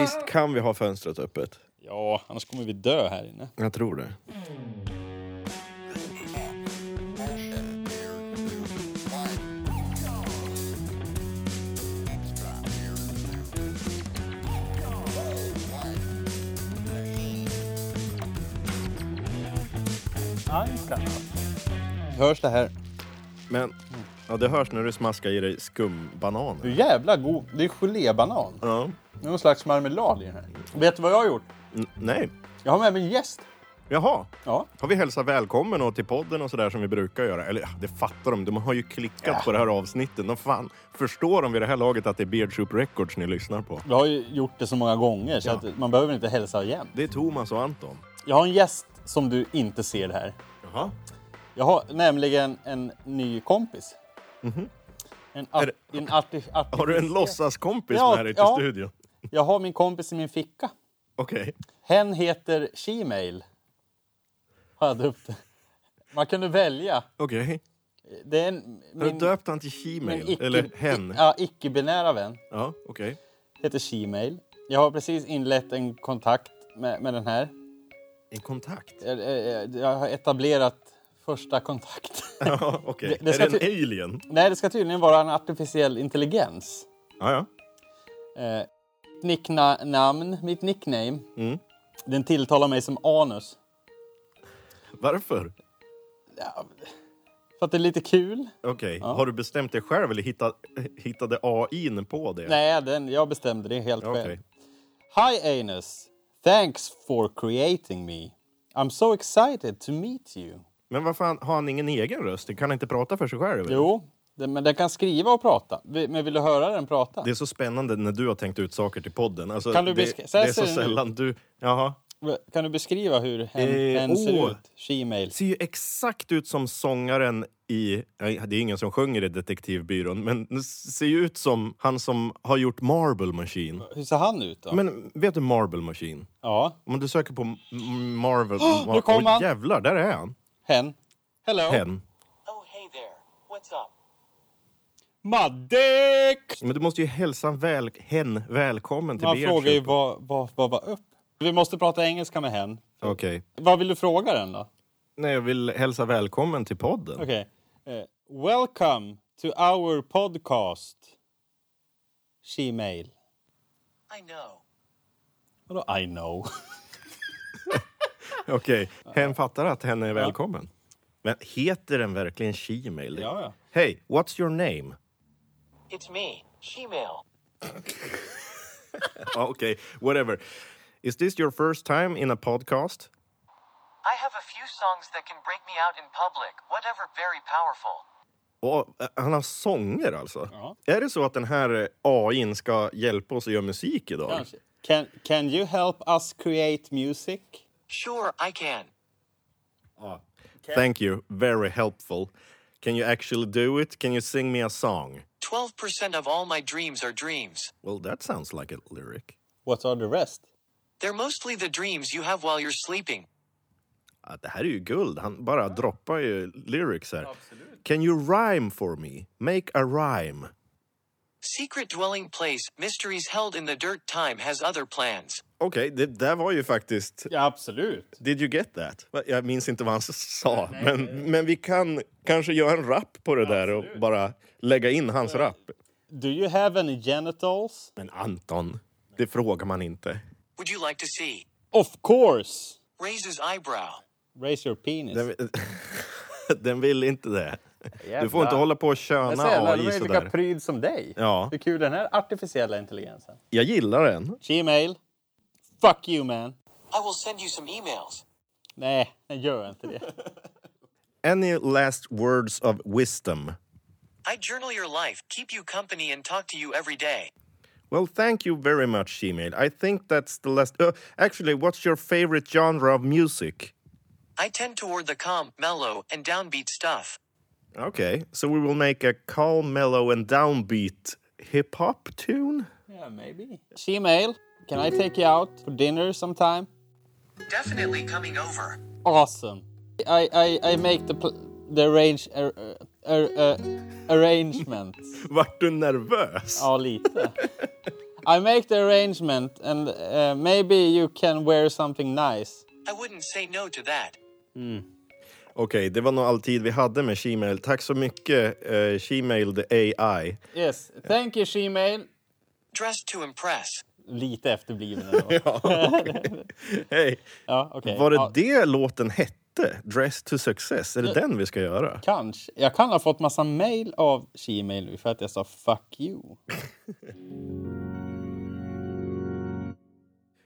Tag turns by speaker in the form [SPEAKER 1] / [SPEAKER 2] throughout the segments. [SPEAKER 1] Visst kan vi ha fönstret öppet?
[SPEAKER 2] Ja, annars kommer vi dö här inne.
[SPEAKER 1] Jag tror det.
[SPEAKER 2] Hörs det här?
[SPEAKER 1] Men ja, det hörs när du smaskar i dig skumbananer.
[SPEAKER 2] Du jävla god. Det är gelébanan.
[SPEAKER 1] Ja.
[SPEAKER 2] Det är någon slags marmelad i den här. Vet du vad jag har gjort?
[SPEAKER 1] N- nej.
[SPEAKER 2] Jag har med mig en gäst.
[SPEAKER 1] Jaha.
[SPEAKER 2] Ja.
[SPEAKER 1] Har vi hälsat välkommen och till podden och sådär som vi brukar göra? Eller ja, det fattar de. De har ju klickat på det här avsnittet. De fan förstår de vid det här laget att det är Beard Soup Records ni lyssnar på.
[SPEAKER 2] Jag har ju gjort det så många gånger så
[SPEAKER 1] Ja.
[SPEAKER 2] att man behöver inte hälsa igen.
[SPEAKER 1] Det är Thomas och Anton.
[SPEAKER 2] Jag har en gäst som du inte ser här.
[SPEAKER 1] Jaha.
[SPEAKER 2] Jag har nämligen en ny kompis. En, art,
[SPEAKER 1] Mhm. Är
[SPEAKER 2] en arti, arti,
[SPEAKER 1] Har du en låtsaskompis
[SPEAKER 2] Ja,
[SPEAKER 1] med dig till
[SPEAKER 2] ja.
[SPEAKER 1] studion?
[SPEAKER 2] Jag har min kompis i min ficka.
[SPEAKER 1] Okej.
[SPEAKER 2] Hen heter Shemale. Har jag döpt det. Man kunde välja.
[SPEAKER 1] Okej.
[SPEAKER 2] Det är en,
[SPEAKER 1] Har du
[SPEAKER 2] min,
[SPEAKER 1] döpt han till Shemale? Eller hen?
[SPEAKER 2] i- ja, icke-binära vän.
[SPEAKER 1] Ja, okej.
[SPEAKER 2] Heter Shemale. Jag har precis inlett en kontakt med, med den här.
[SPEAKER 1] En kontakt?
[SPEAKER 2] Jag, jag, jag har etablerat första kontakt.
[SPEAKER 1] Ja, okej.
[SPEAKER 2] Det- det ska
[SPEAKER 1] Är det en
[SPEAKER 2] ty-
[SPEAKER 1] alien?
[SPEAKER 2] Nej, det ska tydligen vara en artificiell intelligens.
[SPEAKER 1] Ja, ja.
[SPEAKER 2] Eh, nickna, namn, mitt nickname.
[SPEAKER 1] Mm.
[SPEAKER 2] Den tilltalar mig som anus.
[SPEAKER 1] Varför?
[SPEAKER 2] Ja, för att det är lite kul.
[SPEAKER 1] Okej. Har du bestämt dig själv eller hitta, hittade AI på det?
[SPEAKER 2] Nej, den, jag bestämde det helt
[SPEAKER 1] Okej.
[SPEAKER 2] själv. Hi Anus! Thanks for creating me. I'm so excited to meet you.
[SPEAKER 1] Men varför han- har han ingen egen röst? Den kan han inte prata för sig själv?
[SPEAKER 2] Jo, den, men den kan skriva och prata. Vi- Men vill du höra den prata?
[SPEAKER 1] Det är så spännande när du har tänkt ut saker till podden. Alltså,
[SPEAKER 2] Kan du
[SPEAKER 1] det,
[SPEAKER 2] besk-
[SPEAKER 1] det
[SPEAKER 2] så här
[SPEAKER 1] är så
[SPEAKER 2] ser den
[SPEAKER 1] sällan du... Jaha.
[SPEAKER 2] Kan du beskriva hur hen,
[SPEAKER 1] Eh,
[SPEAKER 2] hen ser
[SPEAKER 1] åh.
[SPEAKER 2] ut? Shemale.
[SPEAKER 1] Ser ju exakt ut som sångaren i... nej, Det är ingen som sjunger i Detektivbyrån, men det ser ju ut som han som har gjort Marble Machine.
[SPEAKER 2] Hur ser han ut då?
[SPEAKER 1] Men vet du Marble Machine?
[SPEAKER 2] ja,
[SPEAKER 1] Om du söker på M- Marvel...
[SPEAKER 2] nu kom han!
[SPEAKER 1] jävlar, där är han!
[SPEAKER 2] hen. Hello!
[SPEAKER 1] Hen.
[SPEAKER 3] Oh, hey there. What's up?
[SPEAKER 2] Maddick!
[SPEAKER 1] Men du måste ju hälsa väl, hen välkommen till
[SPEAKER 2] Man
[SPEAKER 1] Beard
[SPEAKER 2] frågar ju
[SPEAKER 1] Soup.
[SPEAKER 2] vad, vad, vad var upp? Vi måste prata engelska med hen.
[SPEAKER 1] Okej.
[SPEAKER 2] Vad vill du fråga den då?
[SPEAKER 1] Nej, jag vill hälsa välkommen till podden.
[SPEAKER 2] Okej. Eh, welcome to our podcast. Shemale.
[SPEAKER 3] I know.
[SPEAKER 2] Vadå I know?
[SPEAKER 1] Okej, hen fattar att hen är välkommen. Men heter den verkligen Shemale?
[SPEAKER 2] Ja, ja.
[SPEAKER 1] Hej, what's your name?
[SPEAKER 3] It's me, Shemale.
[SPEAKER 1] Ja, Okej, whatever. Is this your first time in a podcast?
[SPEAKER 3] I have a few songs that can break me out in public, whatever very powerful.
[SPEAKER 1] Och, eh, han har sånger alltså?
[SPEAKER 2] Ja.
[SPEAKER 1] Är det så att den här eh, AIn ska hjälpa oss att göra musik idag?
[SPEAKER 2] Kanske. Can, can you help us create music?
[SPEAKER 3] Sure, I can.
[SPEAKER 1] Thank you, very helpful. Can you actually do it? Can you sing me a song?
[SPEAKER 3] 12% of all my dreams are dreams.
[SPEAKER 1] Well, that sounds like a lyric.
[SPEAKER 2] What are the rest?
[SPEAKER 3] They're mostly the dreams you have while you're sleeping.
[SPEAKER 1] Ja, det här är ju guld. Han bara droppar ju lyrics här. Can you rhyme for me? Make a rhyme.
[SPEAKER 3] Secret dwelling place, mysteries held in the dirt, time has other plans.
[SPEAKER 1] Okej, det där var ju faktiskt...
[SPEAKER 2] Ja, absolut.
[SPEAKER 1] Did you get that? Va, Jag minns inte vad han s- sa, men, men vi kan kanske göra en rap på det där och bara lägga in hans rap.
[SPEAKER 2] Do you have any genitals?
[SPEAKER 1] Men Anton, det frågar man inte.
[SPEAKER 3] Would you like to see?
[SPEAKER 2] Of course!
[SPEAKER 3] Raises eyebrow.
[SPEAKER 2] Raise your penis.
[SPEAKER 1] Den, den vill inte det. Du får
[SPEAKER 2] Jävlar.
[SPEAKER 1] inte hålla på och
[SPEAKER 2] Jag
[SPEAKER 1] köna
[SPEAKER 2] säger,
[SPEAKER 1] AI
[SPEAKER 2] den är ju lika
[SPEAKER 1] sådär.
[SPEAKER 2] pryd som dig.
[SPEAKER 1] Ja.
[SPEAKER 2] Hur kul är den här artificiella intelligensen.
[SPEAKER 1] Jag gillar den.
[SPEAKER 2] Gmail. Fuck you man.
[SPEAKER 3] I will send you some emails.
[SPEAKER 2] Nej, den gör inte det.
[SPEAKER 1] Any last words of wisdom?
[SPEAKER 3] I journal your life, keep you company, and talk to you every day.
[SPEAKER 1] Well, thank you very much, Gmail. I think that's the last. Uh, actually, what's your favorite genre of music?
[SPEAKER 3] I tend toward the calm, mellow, and downbeat stuff.
[SPEAKER 1] Okay, so we will make a calm, mellow, and downbeat hip hop tune.
[SPEAKER 2] yeah, maybe. Gmail. Can I take you out for dinner sometime?
[SPEAKER 3] Definitely coming over.
[SPEAKER 2] Awesome. I, I, I make the, pl- the arrange, ar, ar, ar, arrangements.
[SPEAKER 1] Vart du nervös?
[SPEAKER 2] Ja, lite. I make the arrangement and uh, maybe you can wear something nice.
[SPEAKER 3] I wouldn't say no to that.
[SPEAKER 1] Okej, det var nog all tid vi hade med Gmail. Tack så mycket, eh, Gmail the AI.
[SPEAKER 2] Yes, thank you Gmail.
[SPEAKER 3] Dressed to impress.
[SPEAKER 2] Lite efterbliven ändå.
[SPEAKER 1] Ja, okej. Hej!
[SPEAKER 2] Ja, okej.
[SPEAKER 1] Var det
[SPEAKER 2] ja,
[SPEAKER 1] det låten hette? Dress to success? Är det den vi ska göra?
[SPEAKER 2] Kanske. Jag kan ha fått massa mail av Gmail för att jag sa fuck you.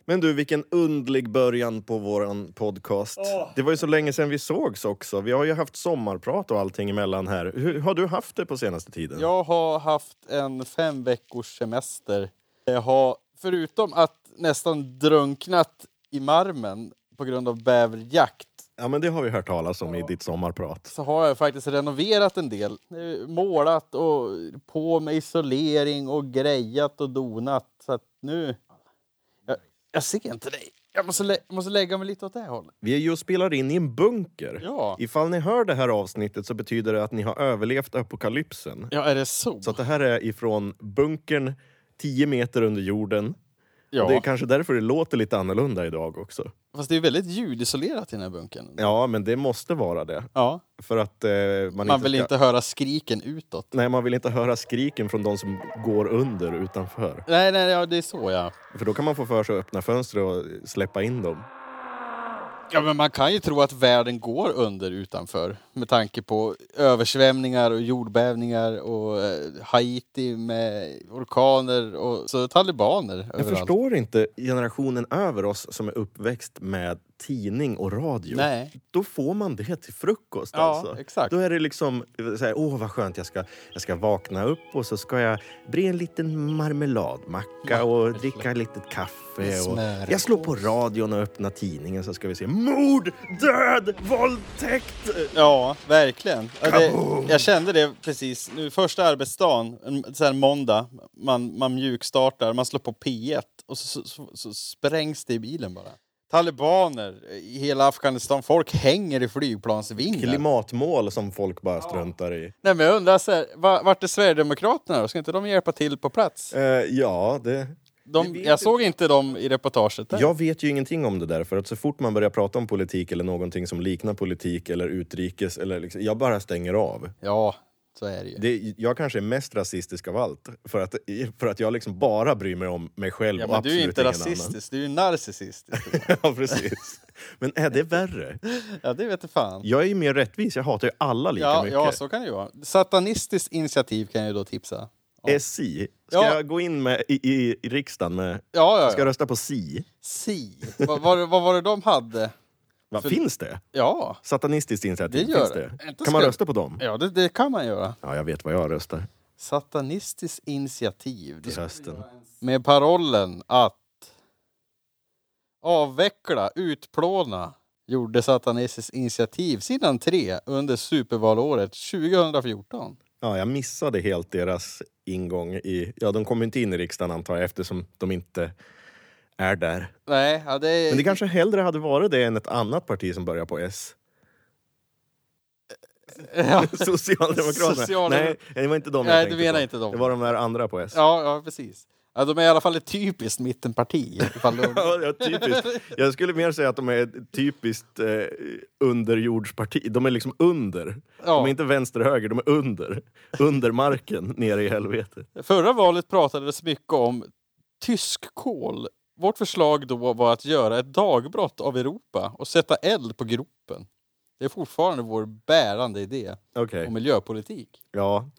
[SPEAKER 1] Men du, vilken undlig början på våran podcast. Det var ju så länge sedan vi sågs också. Vi har ju haft sommarprat och allting emellan här. Hur har du haft det på senaste tiden?
[SPEAKER 2] Jag har haft en fem veckors semester. Jag har, förutom att nästan drunknat i marmen på grund av bäverjakt,
[SPEAKER 1] Ja, men det har vi hört talas om i ditt sommarprat.
[SPEAKER 2] så har jag faktiskt renoverat en del. Eh, Målat och på med isolering och grejat och donat. Så att nu... Jag, jag ser inte dig. Jag måste, lä- måste lägga mig lite åt det här hållet.
[SPEAKER 1] Vi är ju och spelar in i en bunker.
[SPEAKER 2] Ja.
[SPEAKER 1] Ifall ni hör det här avsnittet så betyder det att ni har överlevt apokalypsen.
[SPEAKER 2] Ja, är det så?
[SPEAKER 1] Så att det här är ifrån bunkern, 10 meter under jorden.
[SPEAKER 2] ja.
[SPEAKER 1] Det är kanske därför det låter lite annorlunda idag också.
[SPEAKER 2] Fast det är väldigt ljudisolerat i den här bunkern.
[SPEAKER 1] Ja, men det måste vara det.
[SPEAKER 2] Ja.
[SPEAKER 1] För att eh, man,
[SPEAKER 2] Man vill
[SPEAKER 1] ska-
[SPEAKER 2] inte höra skriken utåt.
[SPEAKER 1] Nej, man vill inte höra skriken från de som går under utanför.
[SPEAKER 2] Nej, nej, ja, det är så ja.
[SPEAKER 1] För då kan man få för sig att öppna fönster och släppa in dem.
[SPEAKER 2] Ja, men man kan ju tro att världen går under utanför med tanke på översvämningar och jordbävningar och eh, Haiti med orkaner och så talibaner
[SPEAKER 1] Jag
[SPEAKER 2] överallt.
[SPEAKER 1] förstår inte generationen över oss som är uppväxt med tidning och radio.
[SPEAKER 2] Nej.
[SPEAKER 1] Då får man det till frukost.
[SPEAKER 2] Ja,
[SPEAKER 1] alltså.
[SPEAKER 2] exakt.
[SPEAKER 1] Då är det liksom så här, åh vad skönt, jag ska, jag ska vakna upp och så ska jag bre en liten marmeladmacka och dricka lite kaffe. Och
[SPEAKER 2] Smör.
[SPEAKER 1] jag slår på radion och öppnar tidningen så ska vi se mord, död, våldtäkt!
[SPEAKER 2] Ja, verkligen. Ja, det, jag kände det precis nu. Första arbetsdagen, en så här måndag, man, man mjukstartar, man slår på P1 och så, så, så, så sprängs det i bilen bara. Talibaner i hela Afghanistan, folk hänger i flygplansvingar.
[SPEAKER 1] Klimatmål som folk bara struntar i.
[SPEAKER 2] Nej, men jag undrar, så här, va- vart är Sverigedemokraterna då? Ska inte de hjälpa till på plats?
[SPEAKER 1] Eh, ja, det...
[SPEAKER 2] De, jag såg inte dem i reportaget. Där.
[SPEAKER 1] Jag vet ju ingenting om det där, för att så fort man börjar prata om politik eller någonting som liknar politik eller utrikes, eller liksom, jag bara stänger av.
[SPEAKER 2] Ja, så är det ju.
[SPEAKER 1] Det, jag kanske är mest rasistisk av allt, för att, för att jag liksom bara bryr mig om mig själv
[SPEAKER 2] Ja,
[SPEAKER 1] och
[SPEAKER 2] men du
[SPEAKER 1] absolut
[SPEAKER 2] är ju inte
[SPEAKER 1] ingen
[SPEAKER 2] rasistisk, du är ju narcissistisk.
[SPEAKER 1] annan. ja, precis. Men är det värre?
[SPEAKER 2] ja, det vet du fan.
[SPEAKER 1] Jag är ju mer rättvis, jag hatar ju alla lika
[SPEAKER 2] Ja,
[SPEAKER 1] mycket.
[SPEAKER 2] ja, så kan det ju vara. Satanistiskt initiativ kan jag ju då tipsa.
[SPEAKER 1] Eh, SI. Ska
[SPEAKER 2] Ja.
[SPEAKER 1] jag gå in med, i, i, i riksdagen med...
[SPEAKER 2] Ja, ja,
[SPEAKER 1] Ska jag
[SPEAKER 2] ja.
[SPEAKER 1] rösta på SI?
[SPEAKER 2] Si. Vad var, det- vad var det de hade?
[SPEAKER 1] Va, Finns det?
[SPEAKER 2] Ja,
[SPEAKER 1] Satanistiskt initiativ,
[SPEAKER 2] Det gör
[SPEAKER 1] finns
[SPEAKER 2] det.
[SPEAKER 1] det?
[SPEAKER 2] Inte
[SPEAKER 1] Kan man
[SPEAKER 2] ska-
[SPEAKER 1] rösta på dem?
[SPEAKER 2] ja det, det kan man göra.
[SPEAKER 1] Ja, jag vet vad jag röstar
[SPEAKER 2] Satanistiskt initiativ.
[SPEAKER 1] till hösten.
[SPEAKER 2] Med parollen att avveckla, utplåna gjorde Satanistiskt initiativ sidan 3 under supervalåret 2014.
[SPEAKER 1] Ja, jag missade helt deras ingång i... Ja, de kommer inte in i riksdagen antar jag eftersom de inte är där.
[SPEAKER 2] Nej, ja, det är...
[SPEAKER 1] Men det kanske hellre hade varit det än ett annat parti som börjar på S.
[SPEAKER 2] Ja,
[SPEAKER 1] Socialdemokraterna.
[SPEAKER 2] Socialdemok-
[SPEAKER 1] Nej, det var inte de jag
[SPEAKER 2] Nej,
[SPEAKER 1] tänkte
[SPEAKER 2] du menar
[SPEAKER 1] på.
[SPEAKER 2] inte dem.
[SPEAKER 1] Det var de där andra på S.
[SPEAKER 2] ja, ja precis. Ja, de är i alla fall ett typiskt mittenparti. ifall de-
[SPEAKER 1] Ja, ja, typiskt. Jag skulle mer säga att de är ett typiskt eh, underjordsparti. De är liksom under. De
[SPEAKER 2] Ja.
[SPEAKER 1] är inte vänster-höger, de är under. Under marken, nere i helvetet.
[SPEAKER 2] Förra valet pratades mycket om tyskkol. Vårt förslag då var att göra ett dagbrott av Europa och sätta eld på gropen. Det är fortfarande vår bärande idé
[SPEAKER 1] Okej.
[SPEAKER 2] om miljöpolitik.
[SPEAKER 1] Ja.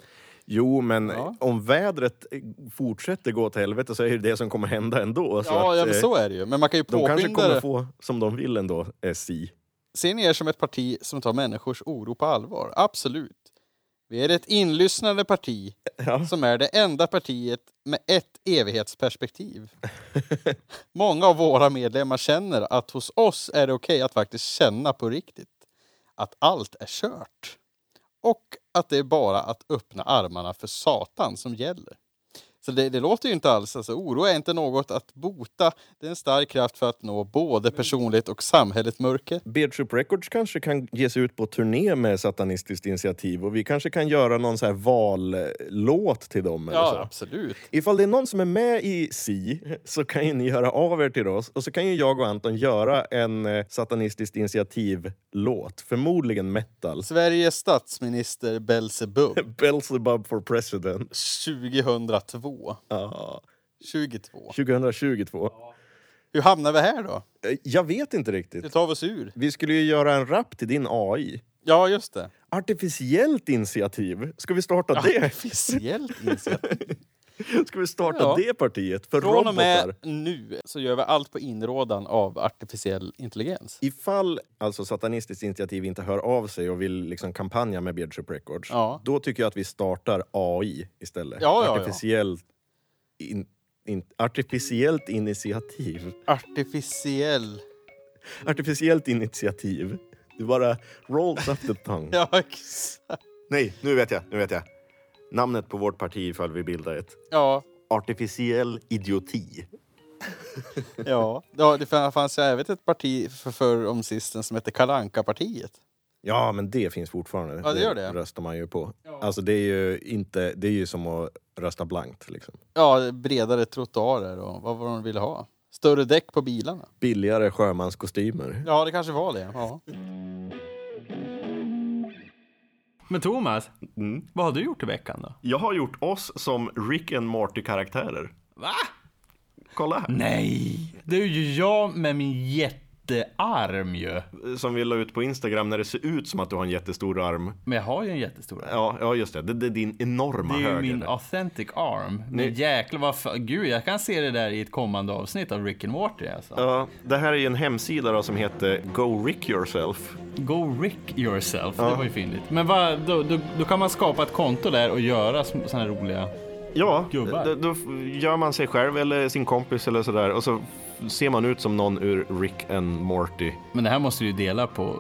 [SPEAKER 1] Jo, men
[SPEAKER 2] Ja.
[SPEAKER 1] om vädret eh, fortsätter gå åt helvete så är det det som kommer hända ändå. Så
[SPEAKER 2] Ja,
[SPEAKER 1] att,
[SPEAKER 2] ja men
[SPEAKER 1] eh,
[SPEAKER 2] så är det ju. Men man kan ju
[SPEAKER 1] De kanske
[SPEAKER 2] påskynda
[SPEAKER 1] kommer
[SPEAKER 2] det.
[SPEAKER 1] få som de vill ändå, SI.
[SPEAKER 2] Ser ni er som ett parti som tar människors oro på allvar? Absolut. Vi är ett inlyssnande parti
[SPEAKER 1] Ja.
[SPEAKER 2] som är det enda partiet med ett evighetsperspektiv. Många av våra medlemmar känner att hos oss är det okej att faktiskt känna på riktigt att allt är kört. Och att det är bara att öppna armarna för Satan som gäller. Så det, det låter ju inte alls. Alltså, oro är inte något att bota. Det är en stark kraft för att nå både personligt och samhället mörker.
[SPEAKER 1] Beardsoup Records kanske kan ge sig ut på turné med Satanistiskt initiativ och vi kanske kan göra någon så här vallåt till dem. Eller så.
[SPEAKER 2] absolut.
[SPEAKER 1] Ifall det är någon som är med i Si så kan ju ni höra av er till oss och så kan ju jag och Anton göra en eh, Satanistiskt initiativ-låt. Förmodligen metal.
[SPEAKER 2] Sveriges statsminister Belzebub
[SPEAKER 1] Beelzebub for president.
[SPEAKER 2] 2002.
[SPEAKER 1] Ja.
[SPEAKER 2] 22.
[SPEAKER 1] 2022.
[SPEAKER 2] Hur hamnar vi här då?
[SPEAKER 1] Eh, Jag vet inte
[SPEAKER 2] Hur
[SPEAKER 1] riktigt.
[SPEAKER 2] tar vi oss ur?
[SPEAKER 1] Vi skulle ju göra en rap till din AI.
[SPEAKER 2] Ja, just det.
[SPEAKER 1] Artificiellt initiativ. Ska vi starta det?
[SPEAKER 2] Artificiellt initiativ.
[SPEAKER 1] Ska vi starta
[SPEAKER 2] Ja.
[SPEAKER 1] det partiet för
[SPEAKER 2] Från
[SPEAKER 1] robotar?
[SPEAKER 2] och med nu så gör vi allt på inrådan av artificiell intelligens.
[SPEAKER 1] Ifall alltså Satanistiskt initiativ inte hör av sig och vill liksom kampanja med Beardship Records,
[SPEAKER 2] Ja.
[SPEAKER 1] då tycker jag att vi startar AI istället.
[SPEAKER 2] Ja, ja, ja.
[SPEAKER 1] artificiellt, in, in, artificiellt initiativ.
[SPEAKER 2] Artificiell.
[SPEAKER 1] Artificiellt initiativ. Du bara rolls up the tongue.
[SPEAKER 2] Ja, exakt.
[SPEAKER 1] Nej, nu vet jag. Nu vet jag. Namnet på vårt parti ifall vi bildar ett.
[SPEAKER 2] Ja,
[SPEAKER 1] Artificiell idioti.
[SPEAKER 2] ja. ja det fan- fanns ju även ett parti för förr om sisten som hette Kalanka partiet
[SPEAKER 1] Ja, men det finns fortfarande.
[SPEAKER 2] Ja, det gör det.
[SPEAKER 1] röstar man ju på. Alltså, det är ju, inte, det är ju som att rösta blankt. Liksom.
[SPEAKER 2] Ja, bredare trottoarer och vad var de ville ha? Större däck på bilarna.
[SPEAKER 1] Billigare sjömanskostymer.
[SPEAKER 2] Ja, det kanske var det. Ja.
[SPEAKER 4] Men Thomas,
[SPEAKER 1] Mm.
[SPEAKER 4] vad har du gjort i veckan då?
[SPEAKER 1] Jag har gjort oss som Rick and Morty-karaktärer.
[SPEAKER 4] Va?
[SPEAKER 1] Kolla här.
[SPEAKER 4] Nej! Det är ju jag med min jättearm ju.
[SPEAKER 1] Som vi la ut på Instagram när det ser ut som att du har en jättestor arm.
[SPEAKER 4] Men jag har ju en jättestor arm.
[SPEAKER 1] Ja, ja just det. Det, det är din enorma
[SPEAKER 4] Det är ju
[SPEAKER 1] höger.
[SPEAKER 4] min authentic arm. Men jäklar vad fa- Gud, jag kan se det där i ett kommande avsnitt av Rick and Morty alltså.
[SPEAKER 1] Ja, det här är ju en hemsida då som heter Go Rick Yourself.
[SPEAKER 4] Go Rick yourself. Det var ju fyndigt. Men vad, då, då, då kan man skapa ett konto där och göra sådana här roliga...
[SPEAKER 1] Ja,
[SPEAKER 4] Gubbar.
[SPEAKER 1] d- då f- gör man sig själv eller sin kompis eller sådär och så f- ser man ut som någon ur Rick and Morty.
[SPEAKER 4] Men det här måste du ju dela på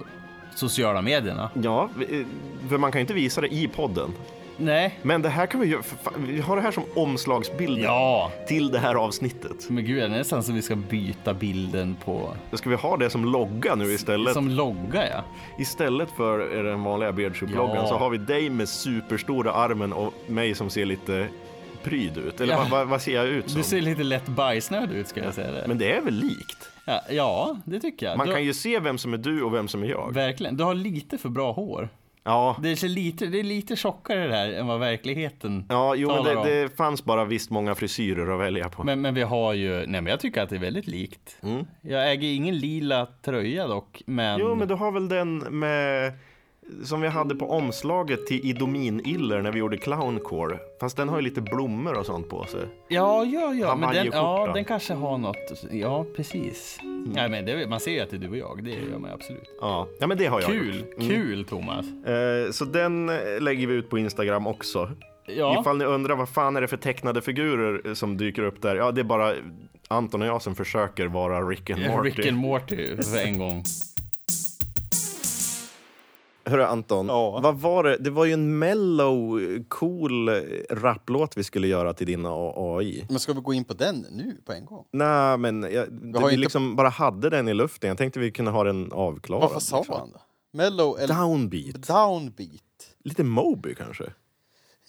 [SPEAKER 4] sociala medierna.
[SPEAKER 1] Ja, vi- eh, för man kan ju inte visa det i podden.
[SPEAKER 4] Nej.
[SPEAKER 1] Men det här kan vi göra, för fan, vi har det här som omslagsbild
[SPEAKER 4] Ja.
[SPEAKER 1] till det här avsnittet.
[SPEAKER 4] Men gud, är det nästan så vi ska byta bilden på...
[SPEAKER 1] Ska vi ha det som logga nu istället?
[SPEAKER 4] Som logga ja.
[SPEAKER 1] Istället för den vanliga Beardsoup-loggan
[SPEAKER 4] Ja.
[SPEAKER 1] så har vi dig med superstora armen och mig som ser lite pryd ut. Eller
[SPEAKER 4] Ja.
[SPEAKER 1] vad, vad, vad ser jag ut som?
[SPEAKER 4] Du ser lite lätt bajsnödig ut ska jag säga det.
[SPEAKER 1] Men det är väl likt?
[SPEAKER 4] Ja, ja det tycker jag.
[SPEAKER 1] Man
[SPEAKER 4] du,
[SPEAKER 1] kan ju se vem som är du och vem som är jag.
[SPEAKER 4] Verkligen. Du har lite för bra hår.
[SPEAKER 1] Ja,
[SPEAKER 4] Det är, så lite, det är lite tjockare det här än vad verkligheten
[SPEAKER 1] ja jo, men
[SPEAKER 4] talar
[SPEAKER 1] det,
[SPEAKER 4] om.
[SPEAKER 1] det fanns bara visst många frisyrer att välja på.
[SPEAKER 4] Men, men vi har ju, nej men jag tycker att det är väldigt likt. Jag äger ingen lila tröja dock, men,
[SPEAKER 1] Mm. Jo, men du har väl den med som vi hade på omslaget till Idomin-iller när vi gjorde clowncore. Fast den har ju lite blommor och sånt på sig.
[SPEAKER 4] ja, ja, ja, men den, ja,
[SPEAKER 1] Hawaiiskjorta.
[SPEAKER 4] den kanske har något, ja precis. Nej men det, man ser ju att det är du och jag, det gör man ju absolut.
[SPEAKER 1] Ja, ja men det har jag
[SPEAKER 4] Kul,
[SPEAKER 1] gjort. Mm.
[SPEAKER 4] kul Thomas.
[SPEAKER 1] Eh, så den eh, lägger vi ut på Instagram också.
[SPEAKER 4] Ja,
[SPEAKER 1] Ifall ni undrar vad fan är det för tecknade figurer eh, som dyker upp där. Ja, det är bara Anton och jag som försöker vara Rick and Morty.
[SPEAKER 4] Rick and Morty för en gång.
[SPEAKER 1] Hörru Anton,
[SPEAKER 2] Ja.
[SPEAKER 1] vad var det? Det var ju en mellow, cool eh, rapplåt vi skulle göra till din AI.
[SPEAKER 2] Men ska vi gå in på den nu på en gång?
[SPEAKER 1] Nej, men jag,
[SPEAKER 2] har
[SPEAKER 1] vi
[SPEAKER 2] inte-
[SPEAKER 1] liksom bara hade den i luften. Jag tänkte vi kunde ha den avklarad.
[SPEAKER 2] Vad sa
[SPEAKER 1] liksom.
[SPEAKER 2] han då? Mellow eller
[SPEAKER 1] Downbeat.
[SPEAKER 2] downbeat?
[SPEAKER 1] Lite Moby kanske?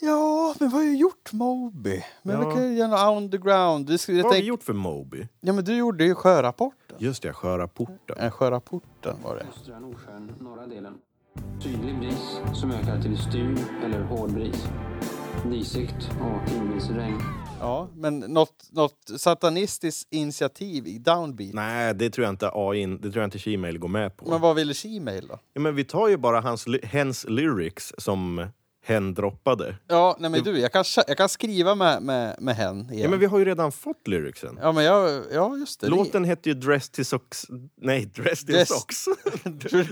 [SPEAKER 2] Ja, men vad har jag gjort Moby? Men
[SPEAKER 1] Ja.
[SPEAKER 2] vi kan ju göra underground. Du, skulle, jag
[SPEAKER 1] Vad har
[SPEAKER 2] tänk,
[SPEAKER 1] vi gjort för Moby?
[SPEAKER 2] ja, men du gjorde ju sjörapporten.
[SPEAKER 1] Just det, Sjörapporten.
[SPEAKER 2] Äh, sjörapporten var det.
[SPEAKER 5] Östra Nordsjön, norra delen. Sydlig bris som ökar till styr eller hård bris. Disigt och tidvis regn.
[SPEAKER 2] Ja, men något, något satanistiskt initiativ i downbeat.
[SPEAKER 1] Nej, det tror jag inte AI, in- det tror jag inte Gmail går med på.
[SPEAKER 2] Men vad ville Shemale då?
[SPEAKER 1] Ja, men vi tar ju bara hans, ly- hens lyrics som hen droppade.
[SPEAKER 2] Ja, nej men du, jag kan, kä- jag kan skriva med, med, med hen igen.
[SPEAKER 1] Ja, men vi har ju redan fått lyricsen.
[SPEAKER 2] ja, men jag, ja just det.
[SPEAKER 1] Låten hette ju Dressed to Socks... Nej, Dressed in
[SPEAKER 2] Dress-
[SPEAKER 1] Socks.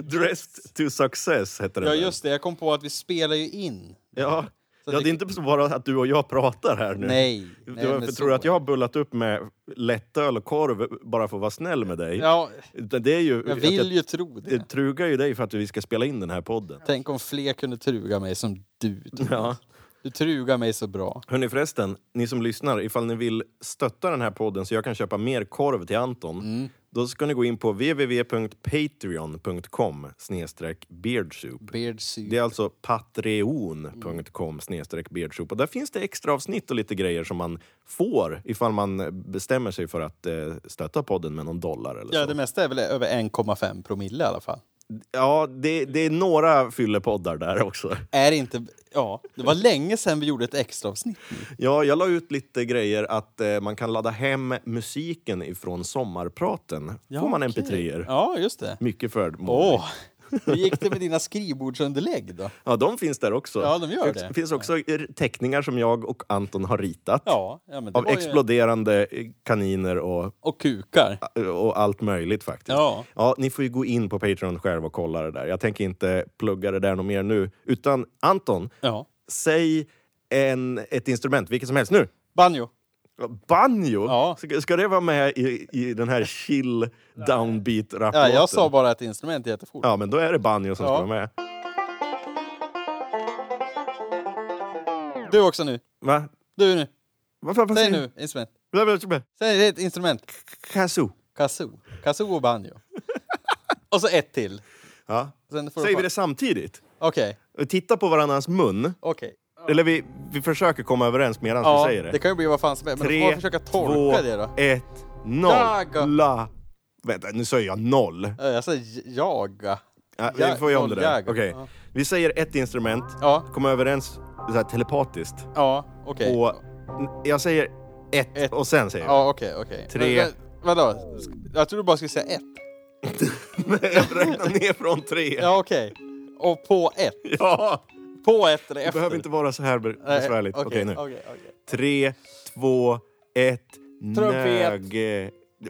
[SPEAKER 1] Dressed to Success hette den.
[SPEAKER 2] Ja,
[SPEAKER 1] där.
[SPEAKER 2] just det. Jag kom på att vi spelar ju in.
[SPEAKER 1] Ja.
[SPEAKER 2] Så
[SPEAKER 1] ja,
[SPEAKER 2] det-
[SPEAKER 1] det är inte bara att du och jag pratar här nu.
[SPEAKER 2] Nej.
[SPEAKER 1] Du,
[SPEAKER 2] nej, men
[SPEAKER 1] varför
[SPEAKER 2] så
[SPEAKER 1] tror du att
[SPEAKER 2] är
[SPEAKER 1] jag har bullat upp med lättöl och korv bara för att vara snäll med dig?
[SPEAKER 2] det. Ja,
[SPEAKER 1] Utan Det är ju...
[SPEAKER 2] jag
[SPEAKER 1] att
[SPEAKER 2] vill ju tro
[SPEAKER 1] jag
[SPEAKER 2] det.
[SPEAKER 1] trugar ju dig för att vi ska spela in den här podden.
[SPEAKER 2] Tänk om fler kunde truga mig som du. Thomas.
[SPEAKER 1] Ja.
[SPEAKER 2] Du trugar mig så bra.
[SPEAKER 1] Hörni förresten, ni som lyssnar, ifall ni vill stötta den här podden så jag kan köpa mer korv till Anton,
[SPEAKER 2] Mm.
[SPEAKER 1] då ska ni gå in på www.patreon.com snedstreck beardsoup.
[SPEAKER 2] Beard soup.
[SPEAKER 1] Det är alltså patreon.com snedstreck beardsoup. Och där finns det extra avsnitt och lite grejer som man får ifall man bestämmer sig för att eh, stötta podden med någon dollar eller
[SPEAKER 2] Ja,
[SPEAKER 1] så.
[SPEAKER 2] det mesta är väl över 1,5 promille i alla fall.
[SPEAKER 1] Ja, det, det är några fyllepoddar där också.
[SPEAKER 2] Är det inte... Ja, det var länge sedan vi gjorde ett extraavsnitt.
[SPEAKER 1] Ja, jag la ut lite grejer att eh, man kan ladda hem musiken ifrån sommarpraten. Får man mp 3 er
[SPEAKER 2] Ja, just det.
[SPEAKER 1] Mycket förmånligt.
[SPEAKER 2] Åh! Hur gick det med dina skrivbordsunderlägg då?
[SPEAKER 1] Ja, de finns där också.
[SPEAKER 2] Ja, de gör det.
[SPEAKER 1] Det finns också er- teckningar som jag och Anton har ritat.
[SPEAKER 2] Ja, ja men det
[SPEAKER 1] Av
[SPEAKER 2] var ju-
[SPEAKER 1] exploderande eh, kaniner och, eh,
[SPEAKER 2] Och kukar.
[SPEAKER 1] och allt möjligt faktiskt.
[SPEAKER 2] Ja.
[SPEAKER 1] ja, ni får ju gå in på Patreon själv och kolla det där. Jag tänker inte plugga det där något mer nu. Utan Anton,
[SPEAKER 2] Ja.
[SPEAKER 1] säg en, ett instrument, vilket som helst nu.
[SPEAKER 2] Banjo.
[SPEAKER 1] Banjo?
[SPEAKER 2] Ja.
[SPEAKER 1] Ska, ska det vara med i, i den här chill downbeat rapplåten
[SPEAKER 2] Ja, jag sa bara ett instrument jättefort.
[SPEAKER 1] Ja, men då är det banjo som
[SPEAKER 2] Ja.
[SPEAKER 1] ska vara med.
[SPEAKER 2] Du också nu.
[SPEAKER 1] Va?
[SPEAKER 2] Du nu.
[SPEAKER 1] Varför? varför
[SPEAKER 2] Säg nu instrument.
[SPEAKER 1] nu.
[SPEAKER 2] Säg ett instrument.
[SPEAKER 1] Kazoo.
[SPEAKER 2] Kazoo. Kazoo och banjo. och så ett till.
[SPEAKER 1] Ja.
[SPEAKER 2] Sen får du
[SPEAKER 1] Säger vi
[SPEAKER 2] fa-
[SPEAKER 1] det samtidigt?
[SPEAKER 2] Okej,
[SPEAKER 1] Vi tittar på varandras mun.
[SPEAKER 2] okej.
[SPEAKER 1] Eller vi, vi försöker komma överens medan vi säger det.
[SPEAKER 2] det kan ju bli vad fan som helst. Men då får man försöka tolka
[SPEAKER 1] två,
[SPEAKER 2] det då.
[SPEAKER 1] ett, noll.
[SPEAKER 2] Jaga.
[SPEAKER 1] La. Vänta, nu säger jag noll.
[SPEAKER 2] Eh, Jag säger j- jaga.
[SPEAKER 1] Ja,
[SPEAKER 2] Ja,
[SPEAKER 1] vi får göra om det
[SPEAKER 2] noll
[SPEAKER 1] där.
[SPEAKER 2] jaga.
[SPEAKER 1] Okej.
[SPEAKER 2] Ja.
[SPEAKER 1] Vi säger ett instrument,
[SPEAKER 2] Ja,
[SPEAKER 1] kommer överens så här, telepatiskt.
[SPEAKER 2] ja, okej.
[SPEAKER 1] Och jag säger ett,
[SPEAKER 2] Ett.
[SPEAKER 1] och sen säger jag.
[SPEAKER 2] Ja, okej, okej.
[SPEAKER 1] Tre.
[SPEAKER 2] Men- men- Vadå? Sk- Jag tror du bara skulle säga ett.
[SPEAKER 1] jag räknar ner från tre. Ja.
[SPEAKER 2] Ja, okej. Och på ett. På ett eller
[SPEAKER 1] Det
[SPEAKER 2] efter.
[SPEAKER 1] behöver inte vara så här be-
[SPEAKER 2] Nej,
[SPEAKER 1] besvärligt. Okej, nu.
[SPEAKER 2] okej, okej.
[SPEAKER 1] Tre, två, ett,
[SPEAKER 2] Trumpet.
[SPEAKER 1] nög...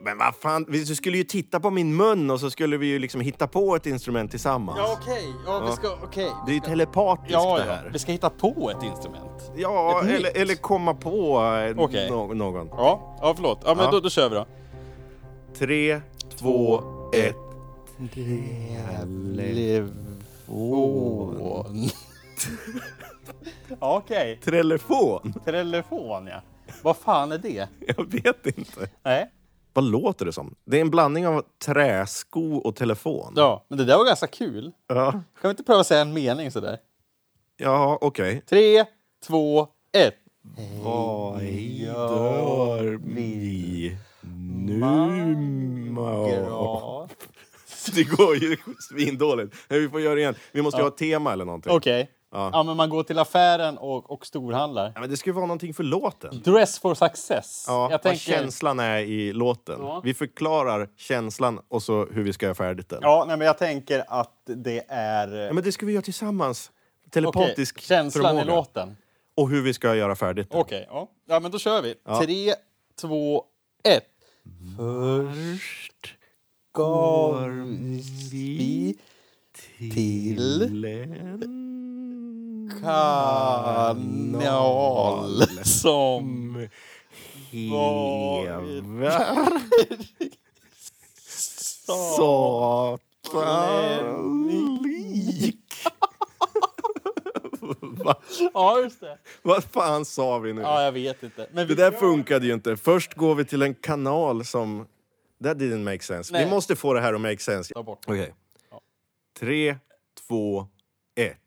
[SPEAKER 1] Men vad fan, vi du skulle ju titta på min mun och så skulle vi ju liksom hitta på ett instrument tillsammans.
[SPEAKER 2] Ja, okej. Ja, vi ska... Okej.
[SPEAKER 1] Det är ju telepatiskt
[SPEAKER 2] Ja,
[SPEAKER 1] det
[SPEAKER 2] ja.
[SPEAKER 1] här.
[SPEAKER 2] Vi ska hitta på ett instrument.
[SPEAKER 1] Ja,
[SPEAKER 2] Ett nytt.
[SPEAKER 1] eller, eller komma på eh,
[SPEAKER 2] Okej.
[SPEAKER 1] nå- någon.
[SPEAKER 2] Ja, ja förlåt. Ja, men
[SPEAKER 1] Ja.
[SPEAKER 2] Då, då kör vi då.
[SPEAKER 1] Tre, två, ett.
[SPEAKER 2] Telefon. ja, okej.
[SPEAKER 1] Telefon?
[SPEAKER 2] Telefon, ja. Vad fan är det?
[SPEAKER 1] Jag vet inte.
[SPEAKER 2] Nej.
[SPEAKER 1] Vad låter det som? Det är en blandning av träsko och telefon.
[SPEAKER 2] Ja, men det där var ganska kul.
[SPEAKER 1] Ja,
[SPEAKER 2] Kan vi inte pröva att säga en mening sådär?
[SPEAKER 1] ja okej.
[SPEAKER 2] Tre, två, ett.
[SPEAKER 1] Vad gör vi nu? ma-
[SPEAKER 2] Bra.
[SPEAKER 1] Det går ju svindåligt. Nej, Vi får göra det igen. Vi måste ju ha ett tema eller någonting.
[SPEAKER 2] Okej.
[SPEAKER 1] Ja.
[SPEAKER 2] Ja. men man går till affären och, och storhandlar.
[SPEAKER 1] Ja, men det ska ju vara någonting för låten.
[SPEAKER 2] Dress for success.
[SPEAKER 1] Ja,
[SPEAKER 2] jag
[SPEAKER 1] Vad
[SPEAKER 2] tänker...
[SPEAKER 1] känslan är i låten. Vi förklarar känslan och så hur vi ska göra färdigt den.
[SPEAKER 2] Ja, nej, men jag tänker att det är...
[SPEAKER 1] Ja, men det ska vi göra tillsammans.
[SPEAKER 2] Okej,
[SPEAKER 1] Telepatisk
[SPEAKER 2] känslan
[SPEAKER 1] förmåga.
[SPEAKER 2] i låten.
[SPEAKER 1] Och hur vi ska göra färdigt den.
[SPEAKER 2] Okej, ja. ja. men då kör vi. Tre, två, ett. Först gav vi till kanal som
[SPEAKER 1] Eva Satan lik. Va?
[SPEAKER 2] Ja, just det.
[SPEAKER 1] Vad fan sa vi nu?
[SPEAKER 2] Ja, jag vet inte. Men
[SPEAKER 1] Det
[SPEAKER 2] vi...
[SPEAKER 1] där funkade ju inte. Först går vi till en kanal som... That didn't make sense.
[SPEAKER 2] Nej.
[SPEAKER 1] Vi måste få det här att make sense.
[SPEAKER 2] Ta bort.
[SPEAKER 1] Okej. Tre, två, ett.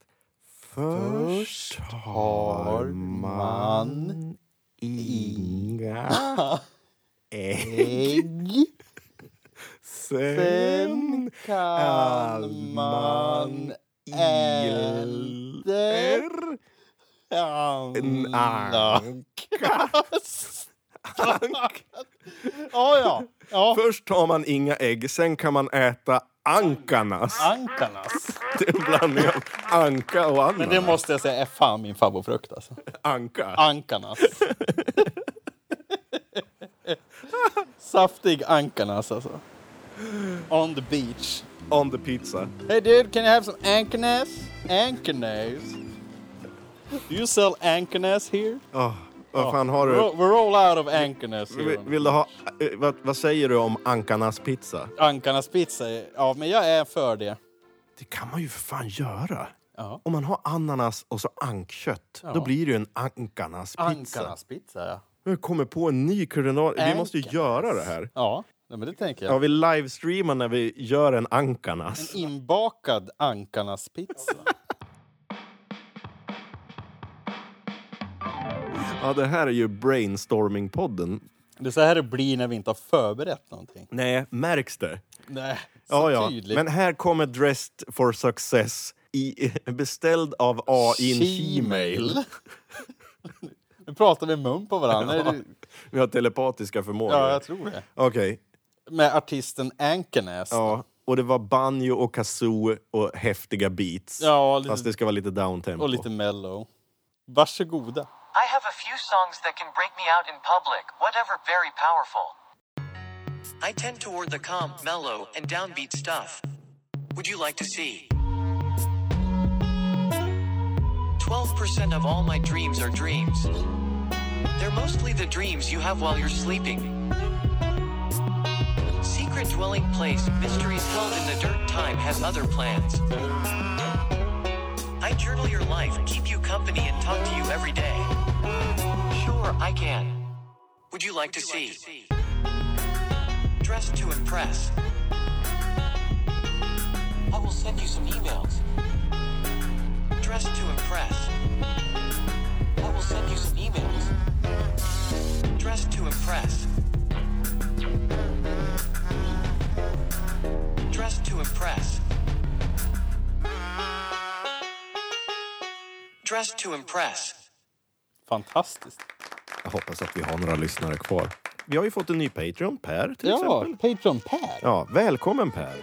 [SPEAKER 1] Först har man inga ägg.
[SPEAKER 2] Ägg.
[SPEAKER 1] Sen
[SPEAKER 2] Sen kan man elda
[SPEAKER 1] är en
[SPEAKER 2] andra.
[SPEAKER 1] anka. Ank.
[SPEAKER 2] Ja, ja. ja.
[SPEAKER 1] Först har man inga ägg, sen kan man äta ankarnas.
[SPEAKER 2] Ankarnas.
[SPEAKER 1] Det är en blandning av anka och
[SPEAKER 2] Men det
[SPEAKER 1] ananas.
[SPEAKER 2] måste jag säga är fan min favoritfrukt alltså.
[SPEAKER 1] Anka.
[SPEAKER 2] Ankarnas. Saftig ankarnas alltså. On the beach.
[SPEAKER 1] On the pizza.
[SPEAKER 2] Hey dude, can you have some ankarnas? Ankarnas? Do you sell ankarnas here?
[SPEAKER 1] Åh, vad fan har
[SPEAKER 2] We're all,
[SPEAKER 1] du?
[SPEAKER 2] we're all out of ankarnas here.
[SPEAKER 1] Vill, vill du ha... eh, Vad, vad säger du om ankarnas pizza?
[SPEAKER 2] Ankarnas pizza, ja men jag är för det.
[SPEAKER 1] Det kan man ju för fan göra.
[SPEAKER 2] Ja.
[SPEAKER 1] Om man har ananas och så ankkött, då blir det ju en ankanaspizza.
[SPEAKER 2] Ankarnas-pizza, ja.
[SPEAKER 1] Nu kommer på en ny kulinar... Vi måste ju
[SPEAKER 2] Ankanas.
[SPEAKER 1] göra det här.
[SPEAKER 2] Ja, nej, men det tänker jag.
[SPEAKER 1] Ja, vi livestreamar när vi gör en ankanas.
[SPEAKER 2] Inbakad ankarnas-pizza.
[SPEAKER 1] Ja, det här är ju brainstorming-podden.
[SPEAKER 2] Det är så här det blir när vi inte har förberett någonting.
[SPEAKER 1] Nej, märks det?
[SPEAKER 2] Nej, så
[SPEAKER 1] Ja, ja.
[SPEAKER 2] tydligt.
[SPEAKER 1] Men här kommer Dressed for Success, i, beställd av AI Gmail.
[SPEAKER 2] nu pratar vi mun på varandra. Ja,
[SPEAKER 1] Vi har telepatiska förmågor.
[SPEAKER 2] ja jag tror det.
[SPEAKER 1] Okej.
[SPEAKER 2] Med artisten Ankenäs.
[SPEAKER 1] Ja. Och det var banjo och kazoo och häftiga beats.
[SPEAKER 2] Ja, lite-
[SPEAKER 1] Fast det ska vara lite downtempo.
[SPEAKER 2] Och lite mellow. Varsågoda.
[SPEAKER 3] I have a few songs that can break me out in public, whatever very powerful. I tend toward the calm, mellow, and downbeat stuff. Would you like to see? 12% of all my dreams are dreams. They're mostly the dreams you have while you're sleeping. Secret dwelling place, mysteries held in the dirt, time has other plans. I journal your life, keep you company, and talk to you every day. Sure, I can. Would you like to see? Dressed to impress. I will send you some emails. Dressed to impress. I will send you some emails. Dressed to impress. Dressed to impress. Dressed to impress.
[SPEAKER 2] Fantastiskt.
[SPEAKER 1] Jag hoppas att vi har några lyssnare kvar. Vi har ju fått en ny Patreon, Per till
[SPEAKER 2] Ja,
[SPEAKER 1] exempel.
[SPEAKER 2] Patreon Per.
[SPEAKER 1] Ja, välkommen Per.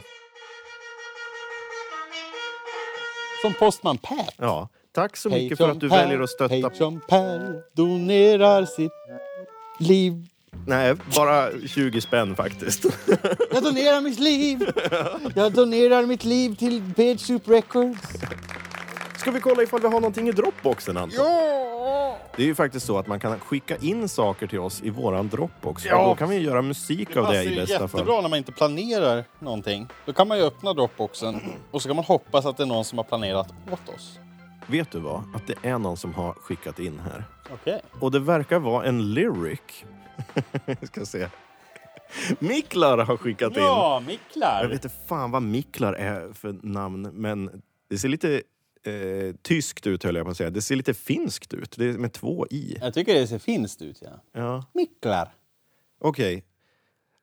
[SPEAKER 2] Som Postman Per.
[SPEAKER 1] Ja, tack så mycket för
[SPEAKER 2] Patreon
[SPEAKER 1] att du
[SPEAKER 2] Per,
[SPEAKER 1] väljer att stötta...
[SPEAKER 2] Patreon Per donerar sitt liv.
[SPEAKER 1] Nej, bara 20 spänn faktiskt.
[SPEAKER 2] Jag donerar mitt liv. Jag donerar mitt liv till Bad Soup Records.
[SPEAKER 1] Ska vi kolla ifall vi har någonting i Dropboxen, Anton? Ja! Det är ju faktiskt så att man kan skicka in saker till oss i våran Dropbox. Ja. Och då kan vi göra musik av det
[SPEAKER 2] ju
[SPEAKER 1] i bästa
[SPEAKER 2] Alltså, jättebra
[SPEAKER 1] fall.
[SPEAKER 2] när man inte planerar någonting. Då kan man ju öppna Dropboxen och så kan man hoppas att det är någon som har planerat åt oss.
[SPEAKER 1] Vet du vad? Att det är någon som har skickat in här.
[SPEAKER 2] Okej.
[SPEAKER 1] Och det verkar vara en lyric. Jag ska se. Miklar har skickat in.
[SPEAKER 2] Ja,
[SPEAKER 1] Jag
[SPEAKER 2] Miklar!
[SPEAKER 1] vet inte fan vad Miklar är för namn, men det ser lite eh, tyskt ut höll jag på att säga. Det ser lite finskt ut. Det är med två i.
[SPEAKER 2] Jag tycker det ser finskt ut. Ja.
[SPEAKER 1] Ja.
[SPEAKER 2] Miklar.
[SPEAKER 1] Okej.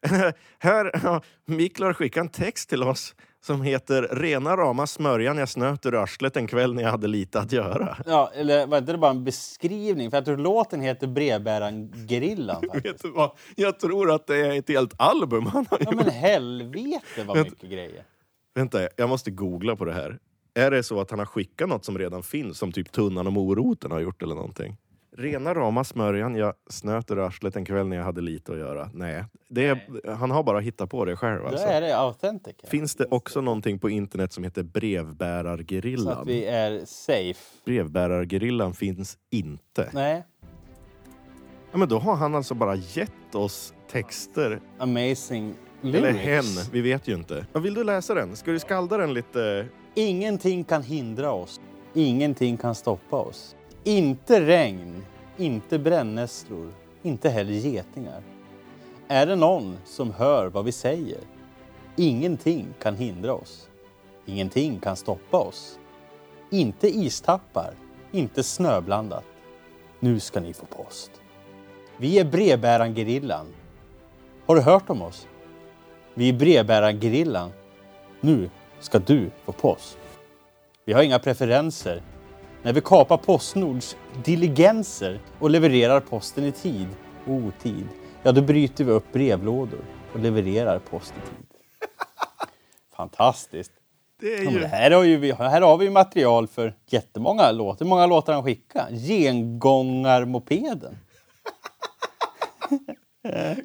[SPEAKER 1] Här ja, Miklar skickar en text till oss som heter Rena rama smörjan jag snöt ur arslet en kväll när jag hade lite att göra.
[SPEAKER 2] Ja, eller var inte det bara en beskrivning? För jag tror låten heter Brevbäraren-gerillan. faktiskt.
[SPEAKER 1] Vet du vad? Jag tror att det är ett helt album han har
[SPEAKER 2] Ja, men helvete vad mycket grejer.
[SPEAKER 1] Vänta, jag måste googla på det här. Är det så att han har skickat något som redan finns, som typ tunnan och moroten har gjort eller någonting? Rena rama smörjan, jag snöt ur arslet en kväll när jag hade lite att göra. Nej, det är, han har bara hittat på det själv
[SPEAKER 2] Då
[SPEAKER 1] alltså.
[SPEAKER 2] är det authentic. här.
[SPEAKER 1] Finns det också någonting på internet som heter
[SPEAKER 2] Så att
[SPEAKER 1] brevbärargerillan?
[SPEAKER 2] vi är safe.
[SPEAKER 1] Brevbärargerillan finns inte.
[SPEAKER 2] Nej,
[SPEAKER 1] Ja, men då har han alltså bara gett oss texter.
[SPEAKER 2] amazing lyrics.
[SPEAKER 1] Eller hen, vi vet ju inte. Ja, Vill du läsa den? Ska du skalda den lite?
[SPEAKER 2] Ingenting kan hindra oss. Ingenting kan stoppa oss. Inte regn, inte brännässlor, inte heller getingar. Är det någon som hör vad vi säger? Ingenting kan hindra oss. Ingenting kan stoppa oss. Inte istappar, inte snöblandat. Nu ska ni få post. Vi är brevbärargerillan. Har du hört om oss? Vi är brevbärargerillan. Nu ska du få post. Vi har inga preferenser. När vi kapar Postnords diligenser och levererar posten i tid och otid, ja då bryter vi upp brevlådor och levererar post i tid. Fantastiskt!
[SPEAKER 1] Det är
[SPEAKER 2] Ja,
[SPEAKER 1] ju...
[SPEAKER 2] men det här, har ju vi, här har vi ju material för jättemånga låtar. Hur många låtar han skickar? Gengångarmopeden.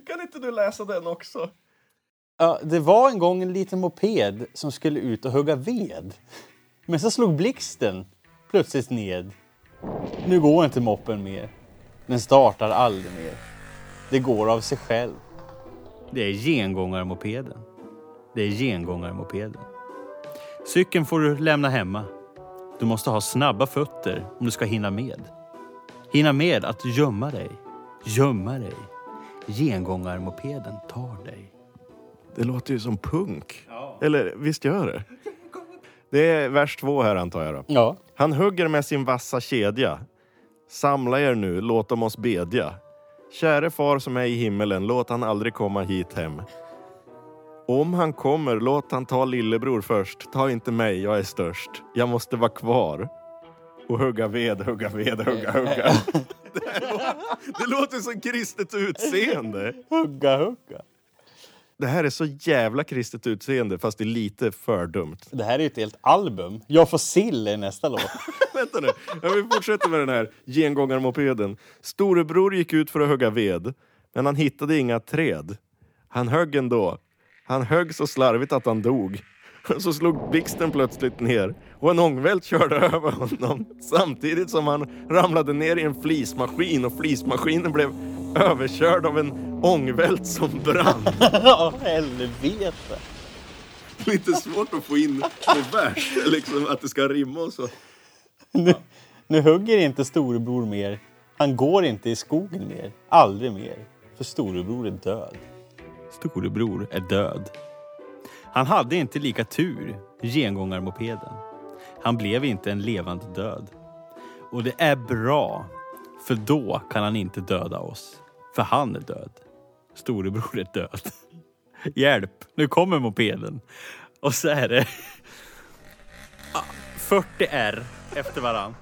[SPEAKER 1] Kan inte du läsa den också?
[SPEAKER 2] Ja, det var en gång en liten moped som skulle ut och hugga ved. Men så slog blixten plötsligt ned. Nu går inte moppen mer. Den startar aldrig mer. Det går av sig själv. Det är gengångarmopeden. Det är gengångarmopeden. Cykeln får du lämna hemma.
[SPEAKER 6] Du måste ha snabba fötter om du ska hinna med. Hinna med att gömma dig, gömma dig. Gengångarmopeden tar dig.
[SPEAKER 1] Det låter ju som punk. Eller visst gör det? Det är vers två här antar jag då.
[SPEAKER 2] Ja.
[SPEAKER 1] Han hugger med sin vassa kedja. Samla er nu, låt om oss bedja. Käre far som är i himmelen, låt han aldrig komma hit hem. Om han kommer, låt han ta lillebror först. Ta inte mig, jag är störst. Jag måste vara kvar. Och hugga ved, hugga ved, hugga, hugga. Det, här låter, det låter som kristet utseende.
[SPEAKER 2] Hugga, hugga.
[SPEAKER 1] Det här är så jävla kristet utseende, fast det är lite för dumt.
[SPEAKER 2] Det här är ju ett helt album. Jag får sill i nästa låt.
[SPEAKER 1] Vänta nu, jag vill fortsätta med den här gengångarmopeden. Storebror gick ut för att hugga ved, men han hittade inga träd. Han högg ändå. Han högg så slarvigt att han dog. Så slog blixten plötsligt ner och en ångvält körde över honom samtidigt som han ramlade ner i en flismaskin och flismaskinen blev överkörd av en ångvält som brann.
[SPEAKER 2] Ja, helvete.
[SPEAKER 1] Lite svårt att få in på vers, liksom att det ska rimma och så.
[SPEAKER 2] Nu, nu hugger inte storebror mer. Han går inte i skogen mer. Aldrig mer. För storebror är död.
[SPEAKER 6] Storebror är död. Han hade inte lika tur, gengångarmopeden. Han blev inte en levande död. Och det är bra, för då kan han inte döda oss. För han är död. Storebror är död. Hjälp, nu kommer mopeden. Och så är det Ah, 40 R efter varann.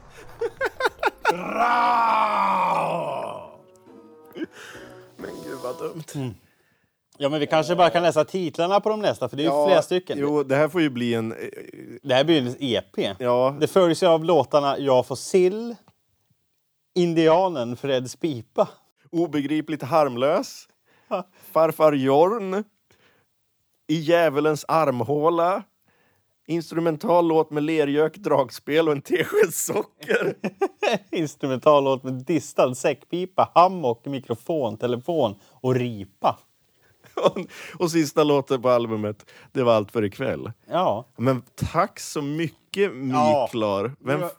[SPEAKER 2] Ja, men vi kanske bara kan läsa titlarna på de nästa, för det är ju flera stycken.
[SPEAKER 1] Jo, det här får ju bli en... eh,
[SPEAKER 2] Det här blir ju en EP.
[SPEAKER 1] Ja.
[SPEAKER 2] Det följs ju av låtarna Jag får sill, Indianen, Freds pipa.
[SPEAKER 1] Obegripligt harmlös. Farfar Jorn. I djävulens armhåla. Instrumental låt med lergök, dragspel och en tesked socker.
[SPEAKER 2] Instrumental låt med distad säckpipa, hammock, mikrofon, telefon och ripa.
[SPEAKER 1] Och- och sista låten på albumet, Det var allt för ikväll.
[SPEAKER 2] Ja.
[SPEAKER 1] Men tack så mycket,
[SPEAKER 2] Ja.
[SPEAKER 1] Miklar. Vem,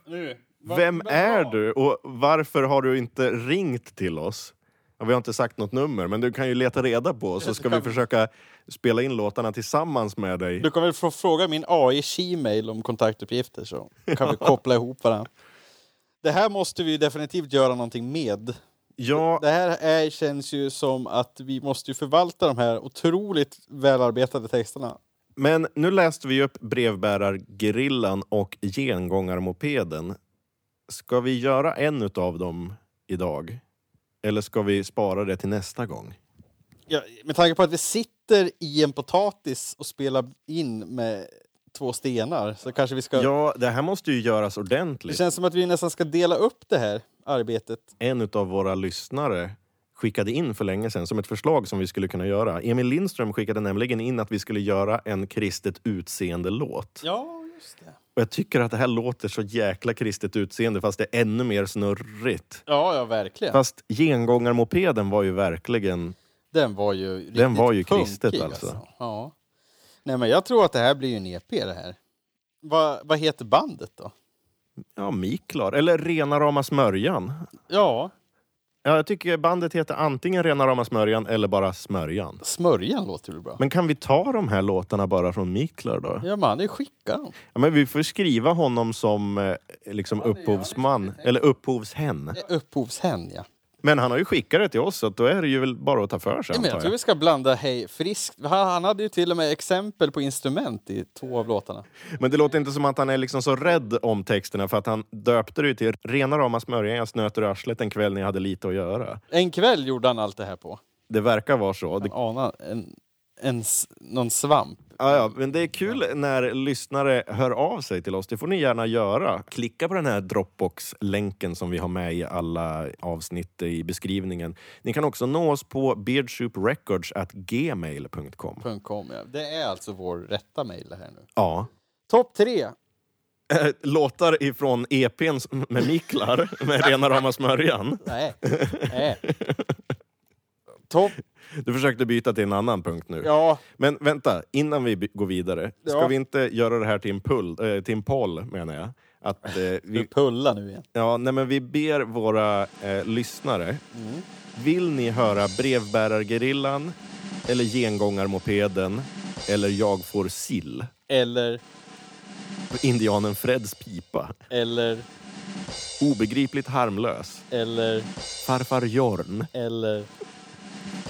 [SPEAKER 1] vem är du och varför har du inte ringt till oss? Ja, vi har inte sagt något nummer, men du kan ju leta reda på oss så ska vi försöka spela in låtarna tillsammans med dig.
[SPEAKER 2] Du kan väl få fråga min AI Gmail om kontaktuppgifter så kan vi koppla ihop varandra. Det här måste vi ju definitivt göra någonting med.
[SPEAKER 1] Ja,
[SPEAKER 2] Det här är, känns ju som att vi måste ju förvalta de här otroligt välarbetade texterna.
[SPEAKER 1] Men nu läste vi upp brevbärargerillan och gengångarmopeden. Ska vi göra en av dem idag? Eller ska vi spara det till nästa gång?
[SPEAKER 2] Ja, med tanke på att vi sitter i en potatis och spelar in med två stenar så kanske vi ska...
[SPEAKER 1] Ja, det här måste ju göras
[SPEAKER 2] Det
[SPEAKER 1] ordentligt.
[SPEAKER 2] känns som att vi nästan ska dela upp det här arbetet.
[SPEAKER 1] En av våra lyssnare skickade in för länge sedan som ett förslag som vi skulle kunna göra. Emil Lindström skickade nämligen in att vi skulle göra en kristet utseende-låt.
[SPEAKER 2] Ja, just det.
[SPEAKER 1] Och jag tycker att det här låter så jäkla kristet utseende fast det är ännu mer snurrigt.
[SPEAKER 2] Ja, ja, verkligen.
[SPEAKER 1] Fast gengångarmopeden var ju verkligen
[SPEAKER 2] Den var ju riktigt
[SPEAKER 1] Den var ju
[SPEAKER 2] punkig,
[SPEAKER 1] kristet, alltså.
[SPEAKER 2] Ja. Nej, men jag tror att det här blir ju en EP det här. Vad, vad heter bandet då?
[SPEAKER 1] Ja, Miklar. Eller Rena rama smörjan.
[SPEAKER 2] Ja,
[SPEAKER 1] Ja, jag tycker bandet heter antingen Rena rama smörjan eller bara Smörjan.
[SPEAKER 2] Smörjan låter väl bra?
[SPEAKER 1] Men kan vi ta de här låtarna bara från Miklar då?
[SPEAKER 2] Ja, man, det skickar de.
[SPEAKER 1] Ja, men vi får skriva honom som eh, liksom upphovsman, eller upphovshen.
[SPEAKER 2] Upphovshän, ja.
[SPEAKER 1] Men han har ju skickat det till oss, så att då är det ju väl bara att ta för sig.
[SPEAKER 2] Nej, men
[SPEAKER 1] antar
[SPEAKER 2] jag tror vi ska blanda Hej friskt. Han han hade ju till och med exempel på instrument i två av låtarna.
[SPEAKER 1] Men det låter inte som att han är liksom så rädd om texterna för att han döpte det ju till Rena rama smörjan, jag snöt ur arslet en kväll när jag hade lite att göra.
[SPEAKER 2] En kväll gjorde han allt det här på.
[SPEAKER 1] Det verkar vara så. Det
[SPEAKER 2] Anar en, en, s- någon svamp.
[SPEAKER 1] Ja, ja, men det är kul när lyssnare hör av sig till oss. Det får ni gärna göra. Klicka på den här Dropbox-länken som vi har med i alla avsnitt i beskrivningen. Ni kan också nå oss på beardsouprecords@gmail.com.
[SPEAKER 2] .com, ja. Det är alltså vår rätta mejl det här nu.
[SPEAKER 1] Ja.
[SPEAKER 2] Topp tre.
[SPEAKER 1] Eh, Låtar ifrån EPn s- med Miklar, med rena rama smörjan.
[SPEAKER 2] Nej. Nej. Topp.
[SPEAKER 1] Du försökte byta till en annan punkt nu.
[SPEAKER 2] Ja,
[SPEAKER 1] Men vänta, innan vi by- går vidare. Ska
[SPEAKER 2] Ja.
[SPEAKER 1] vi inte göra det här till en, pull, eh, till en poll, menar jag? Att, eh, vi,
[SPEAKER 2] Du pullar nu igen.
[SPEAKER 1] ja, nej, men vi ber våra eh, lyssnare. Vill ni höra Brevbärargerillan eller Gengångarmopeden eller Jag får sill?
[SPEAKER 2] Eller,
[SPEAKER 1] Indianen Freds pipa.
[SPEAKER 2] eller,
[SPEAKER 1] Obegripligt harmlös.
[SPEAKER 2] eller,
[SPEAKER 1] Farfar Jorn
[SPEAKER 2] eller,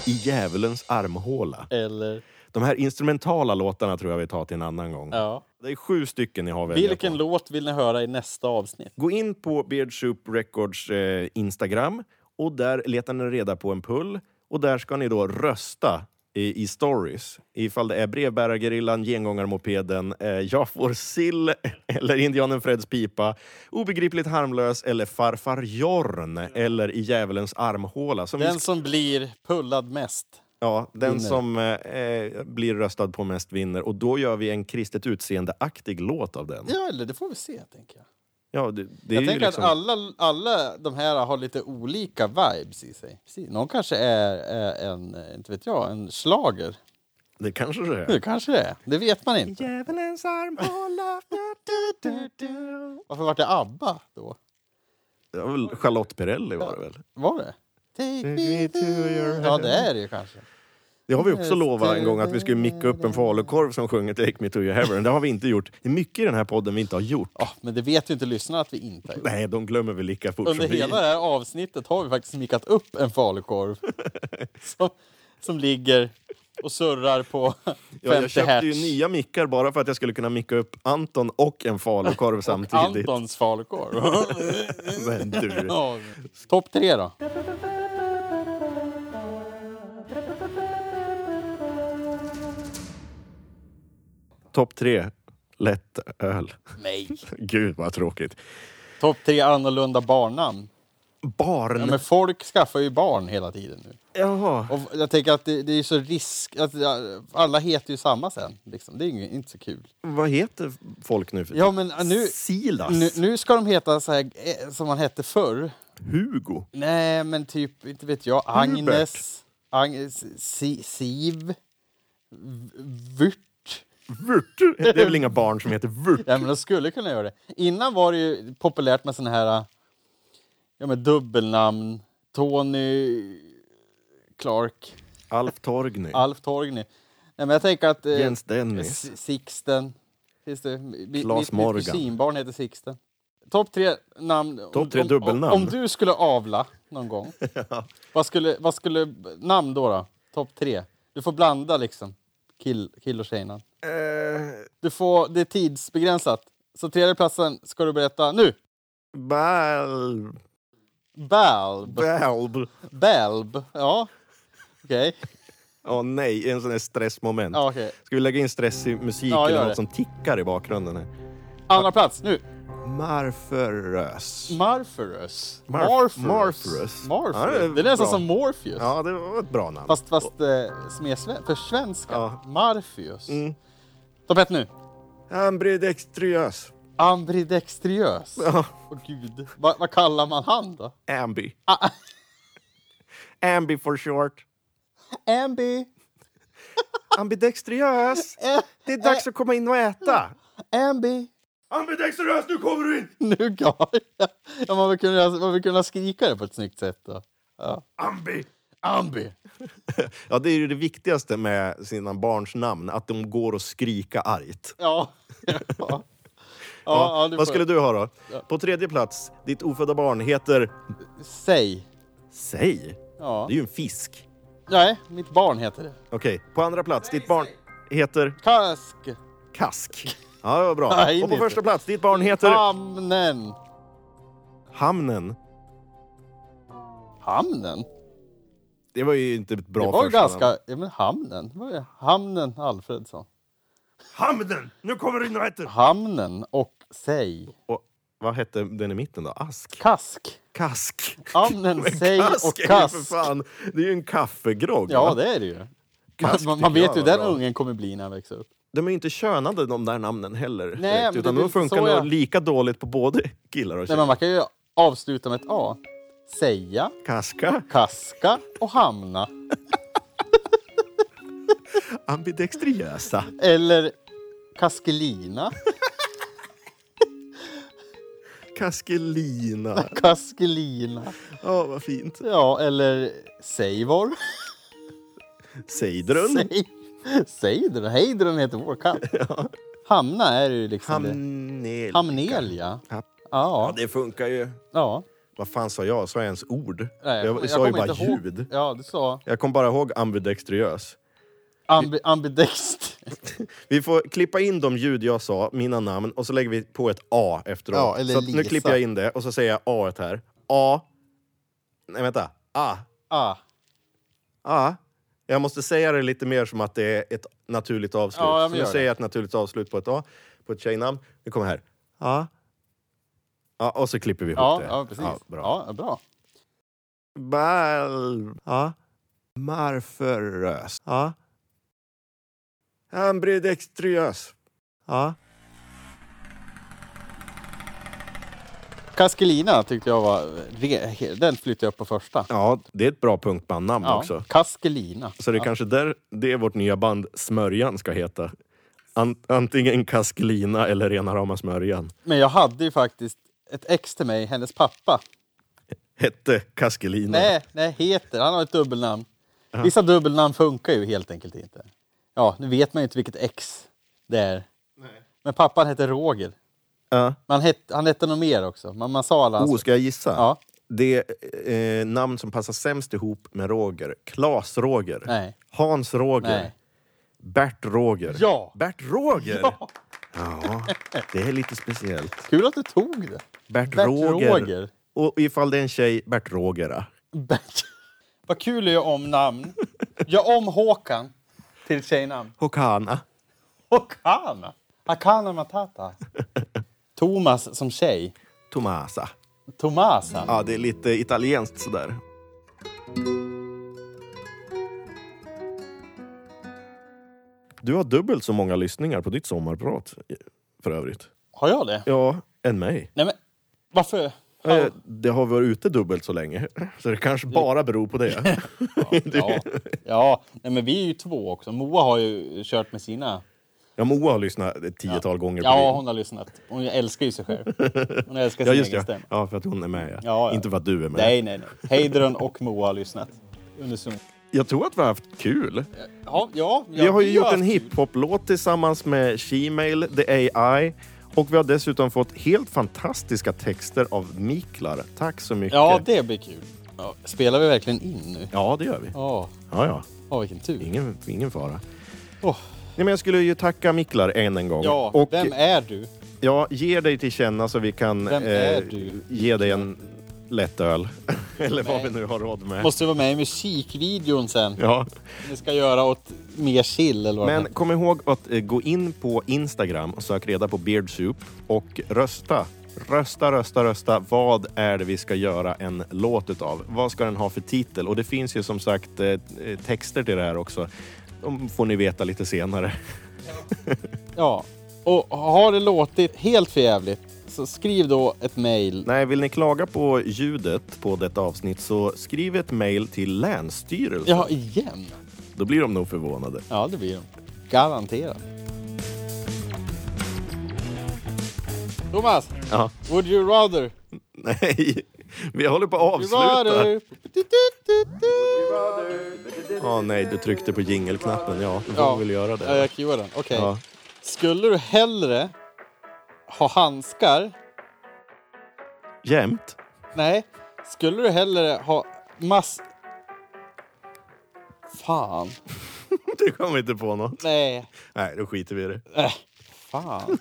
[SPEAKER 1] i djävulens armhåla.
[SPEAKER 2] eller.
[SPEAKER 1] De här instrumentala låtarna tror jag vi tar till en annan gång.
[SPEAKER 2] Ja.
[SPEAKER 1] Det är sju stycken ni har att välja
[SPEAKER 2] Vilken
[SPEAKER 1] på.
[SPEAKER 2] låt vill ni höra i nästa avsnitt?
[SPEAKER 1] Gå in på Beardsoup Records eh, Instagram och där letar ni reda på en pull och där ska ni då rösta i, i stories ifall det är brevbärargerillan, gengångarmopeden, eh, jag får sill eller indianen Freds pipa, obegripligt harmlös eller farfar Jorn eller i djävulens armhåla. Som vi
[SPEAKER 2] Den som blir pullad mest.
[SPEAKER 1] Ja, den
[SPEAKER 2] Vinner.
[SPEAKER 1] som eh, eh, blir röstad på mest vinner. Och då gör vi en kristet utseendeaktig låt av den.
[SPEAKER 2] Ja, eller det får vi se, tänker jag.
[SPEAKER 1] Ja, det, det är
[SPEAKER 2] Jag
[SPEAKER 1] ju
[SPEAKER 2] tänker
[SPEAKER 1] liksom...
[SPEAKER 2] att alla, alla de här har lite olika vibes i sig. Precis. Någon kanske är, är en, eh, inte vet jag, en slager.
[SPEAKER 1] Det kanske det är.
[SPEAKER 2] Det kanske det är. Det vet man inte.
[SPEAKER 1] Djävulens armhåla... du, du, du, du.
[SPEAKER 2] Varför var det ABBA då?
[SPEAKER 1] Det var väl Charlotte Perrelli var det väl?
[SPEAKER 2] Var det? Take
[SPEAKER 1] me to your
[SPEAKER 2] Ja, det är det ju kanske.
[SPEAKER 1] Det har vi också lovat en gång att vi skulle micka upp en falukorv som sjunger Take me to your heaven. Det har vi inte gjort. Det är mycket i den här podden vi inte har gjort.
[SPEAKER 2] Ja, men det vet ju inte lyssnarna att vi inte har gjort.
[SPEAKER 1] Nej, de glömmer vi lika fort
[SPEAKER 2] Under
[SPEAKER 1] som vi.
[SPEAKER 2] hela det här avsnittet har vi faktiskt mickat upp en falukorv som, som ligger och surrar på 50
[SPEAKER 1] Ja, jag köpte ju
[SPEAKER 2] hertz.
[SPEAKER 1] nya mickar bara för att jag skulle kunna micka upp Anton och en falukorv samtidigt.
[SPEAKER 2] Antons falukorv.
[SPEAKER 1] Men du.
[SPEAKER 2] Ja. Topp tre då?
[SPEAKER 1] Topp tre. Lätt öl.
[SPEAKER 2] Nej.
[SPEAKER 1] Gud vad tråkigt.
[SPEAKER 2] Topp tre annorlunda barnnamn.
[SPEAKER 1] Barn.
[SPEAKER 2] Ja, men folk skaffar ju barn hela tiden nu.
[SPEAKER 1] Jaha.
[SPEAKER 2] Och jag tänker att det, det är ju så risk... Att alla heter ju samma sen. Liksom. Det är ju inte så kul.
[SPEAKER 1] Vad heter folk nu för
[SPEAKER 2] Ja, men nu,
[SPEAKER 1] Silas.
[SPEAKER 2] nu, nu ska de heta så här, eh, som man hette förr.
[SPEAKER 1] Hugo.
[SPEAKER 2] Nej, men typ, inte vet jag, Agnes, Agnes si, Siv, V- Vyrt.
[SPEAKER 1] Vurt. Det är väl inga barn som heter Vurt?
[SPEAKER 2] Ja, men de skulle kunna göra det. Innan var det ju populärt med såna här ja, men dubbelnamn. Tony Clark,
[SPEAKER 1] Alf Torgny.
[SPEAKER 2] Alf Torgny. Nej, men jag tänker att... Eh,
[SPEAKER 1] Jens Dennis.
[SPEAKER 2] S- Sixten. Finns det? Mi- mi-
[SPEAKER 1] Claes
[SPEAKER 2] mitt,
[SPEAKER 1] Morgan.
[SPEAKER 2] Mitt kusinbarn heter Sixten. Topp tre namn. Om-
[SPEAKER 1] Topp tre
[SPEAKER 2] om-
[SPEAKER 1] dubbelnamn.
[SPEAKER 2] Om, om du skulle avla någon gång, vad, skulle, vad skulle... Namn då? då? Topp tre. Du får blanda liksom. Kill, kill och tjejnamn.
[SPEAKER 1] Eh,
[SPEAKER 2] Du får, det är tidsbegränsat. Så tredje platsen ska du berätta nu.
[SPEAKER 1] Bal...
[SPEAKER 2] Balb.
[SPEAKER 1] Balb.
[SPEAKER 2] Balb. Ja. Okej.
[SPEAKER 1] Åh nej, en sån här stressmoment.
[SPEAKER 2] Ja, okej.
[SPEAKER 1] Ska vi lägga in stress i musik
[SPEAKER 2] Ja, gör
[SPEAKER 1] eller
[SPEAKER 2] det.
[SPEAKER 1] något som tickar i bakgrunden? Här?
[SPEAKER 2] Andra plats nu.
[SPEAKER 1] Marförös.
[SPEAKER 2] Marferus.
[SPEAKER 1] Marf-
[SPEAKER 2] Marferus.
[SPEAKER 1] Marferus. Ja, det är
[SPEAKER 2] det är nästan
[SPEAKER 1] bra.
[SPEAKER 2] som Morpheus.
[SPEAKER 1] Ja, det var ett bra namn.
[SPEAKER 2] Fast, fast eh, som är sve- för svenska.
[SPEAKER 1] Ja.
[SPEAKER 2] Marfius.
[SPEAKER 1] Mm.
[SPEAKER 2] Topp ett nu.
[SPEAKER 1] Ambidextriös.
[SPEAKER 2] Ambidextriös. Åh
[SPEAKER 1] Ja.
[SPEAKER 2] gud. Va, vad kallar man han då?
[SPEAKER 1] Ambi.
[SPEAKER 2] Ah.
[SPEAKER 1] Ambi for short.
[SPEAKER 2] Ambi.
[SPEAKER 1] Ambidextriös!
[SPEAKER 2] Eh,
[SPEAKER 1] Det är dags att komma in och äta!
[SPEAKER 2] Ambi.
[SPEAKER 1] Ambidextriös, nu kommer du in!
[SPEAKER 2] Nu går jag. Ja, man vill, kunna, man vill kunna skrika det på ett snyggt sätt då. Ja.
[SPEAKER 1] Ambi!
[SPEAKER 2] Ambi.
[SPEAKER 1] Ja, det är ju det viktigaste med sina barns namn, att de går och skrika argt.
[SPEAKER 2] Ja. ja. ja,
[SPEAKER 1] Ja,
[SPEAKER 2] ja, du
[SPEAKER 1] vad
[SPEAKER 2] får-
[SPEAKER 1] skulle du ha då? På tredje plats, ditt ofödda barn heter...
[SPEAKER 2] Säg.
[SPEAKER 1] Säg?
[SPEAKER 2] Ja.
[SPEAKER 1] Det är ju en fisk.
[SPEAKER 2] Nej, mitt barn heter det.
[SPEAKER 1] Okej, på andra plats, ditt barn heter
[SPEAKER 2] Kask.
[SPEAKER 1] Kask. Ja, det var bra.
[SPEAKER 2] Nej,
[SPEAKER 1] Och på
[SPEAKER 2] inte.
[SPEAKER 1] första plats, ditt barn heter...
[SPEAKER 2] Hamnen.
[SPEAKER 1] Hamnen.
[SPEAKER 2] Hamnen?
[SPEAKER 1] Det var ju inte ett bra
[SPEAKER 2] det var ju
[SPEAKER 1] första namn.
[SPEAKER 2] ganska... Ja, men hamnen. Det var ju hamnen Alfredsson.
[SPEAKER 1] Hamnen! Nu kommer du in och äter!
[SPEAKER 2] Hamnen och säg.
[SPEAKER 1] Och vad hette den i mitten då? Ask?
[SPEAKER 2] Kask.
[SPEAKER 1] Kask.
[SPEAKER 2] Hamnen,
[SPEAKER 1] Men
[SPEAKER 2] säg
[SPEAKER 1] kask
[SPEAKER 2] och
[SPEAKER 1] är ju För
[SPEAKER 2] kask.
[SPEAKER 1] fan, det är ju en kaffegrogg.
[SPEAKER 2] Ja,
[SPEAKER 1] va?
[SPEAKER 2] det är det ju. Man,
[SPEAKER 1] Kask
[SPEAKER 2] man, man
[SPEAKER 1] tycker jag
[SPEAKER 2] vet ju
[SPEAKER 1] var
[SPEAKER 2] den
[SPEAKER 1] bra.
[SPEAKER 2] ungen kommer bli när han växer upp.
[SPEAKER 1] De är ju inte könade de där namnen heller.
[SPEAKER 2] Nej, men
[SPEAKER 1] direkt,
[SPEAKER 2] det
[SPEAKER 1] utan
[SPEAKER 2] är
[SPEAKER 1] de
[SPEAKER 2] väl så
[SPEAKER 1] funkar nog
[SPEAKER 2] jag-
[SPEAKER 1] lika dåligt på både killar och
[SPEAKER 2] Nej,
[SPEAKER 1] tjejer.
[SPEAKER 2] men man kan ju avsluta med ett A. Säga,
[SPEAKER 1] Kaska,
[SPEAKER 2] kaska och hamna.
[SPEAKER 1] ambidextriösa.
[SPEAKER 2] Eller kaskelina.
[SPEAKER 1] Kaskelina.
[SPEAKER 2] Kaskelina.
[SPEAKER 1] Ja, vad fint.
[SPEAKER 2] Ja, eller Seivor.
[SPEAKER 1] Seidrun.
[SPEAKER 2] Sei- Seidrun. Heidrun heter vår katt. Hamna är ju liksom det.
[SPEAKER 1] Hamnel.
[SPEAKER 2] Hamnelia.
[SPEAKER 1] Ja. Ja,
[SPEAKER 2] Ja,
[SPEAKER 1] det funkar ju.
[SPEAKER 2] ja.
[SPEAKER 1] Vad fan sa jag? Sa jag ens ord?
[SPEAKER 2] Nej,
[SPEAKER 1] jag sa ju
[SPEAKER 2] kommer
[SPEAKER 1] bara
[SPEAKER 2] inte ihåg-
[SPEAKER 1] ljud.
[SPEAKER 2] Ja, du sa
[SPEAKER 1] Jag kom bara ihåg ambidextriös.
[SPEAKER 2] ambi, ambidext.
[SPEAKER 1] Vi får klippa in de ljud jag sa, mina namn, och så lägger vi på ett A efteråt.
[SPEAKER 2] Ja, eller
[SPEAKER 1] så att nu
[SPEAKER 2] Lisa.
[SPEAKER 1] klipper jag in det och så säger jag A här. A. Nej, vänta. A.
[SPEAKER 2] Ah.
[SPEAKER 1] A. Jag måste säga det lite mer som att det är ett naturligt avslut.
[SPEAKER 2] Ja, men
[SPEAKER 1] så nu
[SPEAKER 2] gör det.
[SPEAKER 1] säger jag ett naturligt avslut på ett A, på ett tjejnamn. Nu kommer här. A. Ja, och så klipper vi ihop
[SPEAKER 2] Ja,
[SPEAKER 1] det.
[SPEAKER 2] ja, precis. Ja,
[SPEAKER 1] bra.
[SPEAKER 2] bra. Ja, bra.
[SPEAKER 1] Bal... Ja. Marförös. Ja. Ambidextriös. Ja.
[SPEAKER 2] Kaskelina tyckte jag var... re- Den flyttade jag upp på första.
[SPEAKER 1] Ja, det är ett bra punktbandnamn
[SPEAKER 2] Ja,
[SPEAKER 1] också.
[SPEAKER 2] Kaskelina.
[SPEAKER 1] Så det är kanske där det är vårt nya band Smörjan ska heta. An- antingen Kaskelina eller rena rama Smörjan.
[SPEAKER 2] Men jag hade ju faktiskt ett ex till mig, hennes pappa.
[SPEAKER 1] Hette Kaskelina.
[SPEAKER 2] Nej, nej, heter. Han har ett dubbelnamn. Vissa dubbelnamn funkar ju helt enkelt inte. Ja, nu vet man ju inte vilket ex det är. Men pappan hette Roger.
[SPEAKER 1] Ja.
[SPEAKER 2] Man het, han hette nog mer också. Man, man sa alla hans...
[SPEAKER 1] Oh, ska jag gissa?
[SPEAKER 2] alltså- Ja.
[SPEAKER 1] Det eh, namn som passar sämst ihop med Roger. Klas Roger.
[SPEAKER 2] Nej.
[SPEAKER 1] Hans Roger.
[SPEAKER 2] Nej.
[SPEAKER 1] Bert Roger.
[SPEAKER 2] Ja.
[SPEAKER 1] Bert Roger! Ja. det är lite speciellt.
[SPEAKER 2] Kul att du tog det.
[SPEAKER 1] Bert,
[SPEAKER 2] Bert
[SPEAKER 1] Roger.
[SPEAKER 2] Roger.
[SPEAKER 1] Och ifall det är en tjej, Bert Roger. då?
[SPEAKER 2] Bert. Vad kul att göra om namn. Gör om Håkan till ett tjejnamn.
[SPEAKER 1] Hokana.
[SPEAKER 2] Håkan! Hakana Matata. Thomas som tjej.
[SPEAKER 1] Tomasa.
[SPEAKER 2] Tomasa.
[SPEAKER 1] Ja, det är lite italienskt sådär. Du har dubbelt så många lyssningar på ditt sommarprat för övrigt.
[SPEAKER 2] Har jag det?
[SPEAKER 1] Ja, än mig.
[SPEAKER 2] Nej men, varför?
[SPEAKER 1] Eh, Det har varit ute dubbelt så länge, så det kanske bara beror på det.
[SPEAKER 2] Ja, ja. Nej, men vi är ju två också. Moa har ju kört med sina.
[SPEAKER 1] Ja, Moa har lyssnat ett tiotal gånger på
[SPEAKER 2] Ja,
[SPEAKER 1] din.
[SPEAKER 2] hon har lyssnat. Hon älskar ju sig själv. Hon älskar
[SPEAKER 1] Mm.
[SPEAKER 2] sin
[SPEAKER 1] Ja, just
[SPEAKER 2] egen
[SPEAKER 1] det.
[SPEAKER 2] stämma.
[SPEAKER 1] Ja, för att hon är med. Ja.
[SPEAKER 2] Ja, ja.
[SPEAKER 1] Inte för att du är med.
[SPEAKER 2] Nej, nej, nej. Heidrun och Moa har lyssnat. Undersunt.
[SPEAKER 1] Jag tror att vi har haft kul.
[SPEAKER 2] Ja, ja, ja,
[SPEAKER 1] Vi har ju
[SPEAKER 2] vi
[SPEAKER 1] gjort en
[SPEAKER 2] haft-
[SPEAKER 1] hiphop-låt tillsammans med Shemale, The AI och vi har dessutom fått helt fantastiska texter av Miklar. Tack så mycket.
[SPEAKER 2] Ja, det blir kul. Ja, spelar vi verkligen in nu?
[SPEAKER 1] ja det gör vi.
[SPEAKER 2] Ja,
[SPEAKER 1] Ja, ja.
[SPEAKER 2] ja vilken tur.
[SPEAKER 1] Ingen, ingen fara.
[SPEAKER 2] Åh.
[SPEAKER 1] Nej, men jag skulle ju tacka Miklar än en gång.
[SPEAKER 2] Ja,
[SPEAKER 1] och
[SPEAKER 2] vem är du?
[SPEAKER 1] ja, ge dig till känna så vi kan eh,
[SPEAKER 2] Vem är du?
[SPEAKER 1] ge dig en lättöl. Eller vad vi nu har råd med.
[SPEAKER 2] Måste vara med i musikvideon sen.
[SPEAKER 1] Ja.
[SPEAKER 2] Ni ska göra åt mer chill eller vad
[SPEAKER 1] Men kom ihåg att eh, gå in på Instagram och sök reda på Beard Soup och rösta. Rösta, rösta, rösta. Vad är det vi ska göra en låt utav? Vad ska den ha för titel? Och det finns ju som sagt eh, texter till det här också. De får ni veta lite senare.
[SPEAKER 2] Ja, och har det låtit helt förjävligt så skriv då ett mejl.
[SPEAKER 1] Nej, vill ni klaga på ljudet på detta avsnitt så skriv ett mejl till Länsstyrelsen.
[SPEAKER 2] Ja, igen?
[SPEAKER 1] Då blir de nog förvånade.
[SPEAKER 2] Ja, det blir de. Garanterat. Thomas,
[SPEAKER 1] Ja.
[SPEAKER 2] would you rather?
[SPEAKER 1] Nej, vi håller på att
[SPEAKER 2] Would
[SPEAKER 1] avsluta.
[SPEAKER 2] you rather? Du, du, du, du.
[SPEAKER 1] Ja, nej, du tryckte på jingelknappen. Ja, du
[SPEAKER 2] Ja,
[SPEAKER 1] får väl göra det.
[SPEAKER 2] Ja, jag kan göra den. Okej.
[SPEAKER 1] Ja.
[SPEAKER 2] Skulle du hellre ha handskar?
[SPEAKER 1] Jämt?
[SPEAKER 2] Nej. Skulle du hellre ha mass... Fan.
[SPEAKER 1] Du kom inte på något.
[SPEAKER 2] Nej.
[SPEAKER 1] Nej, då skiter vi i det.
[SPEAKER 2] Äh, fan.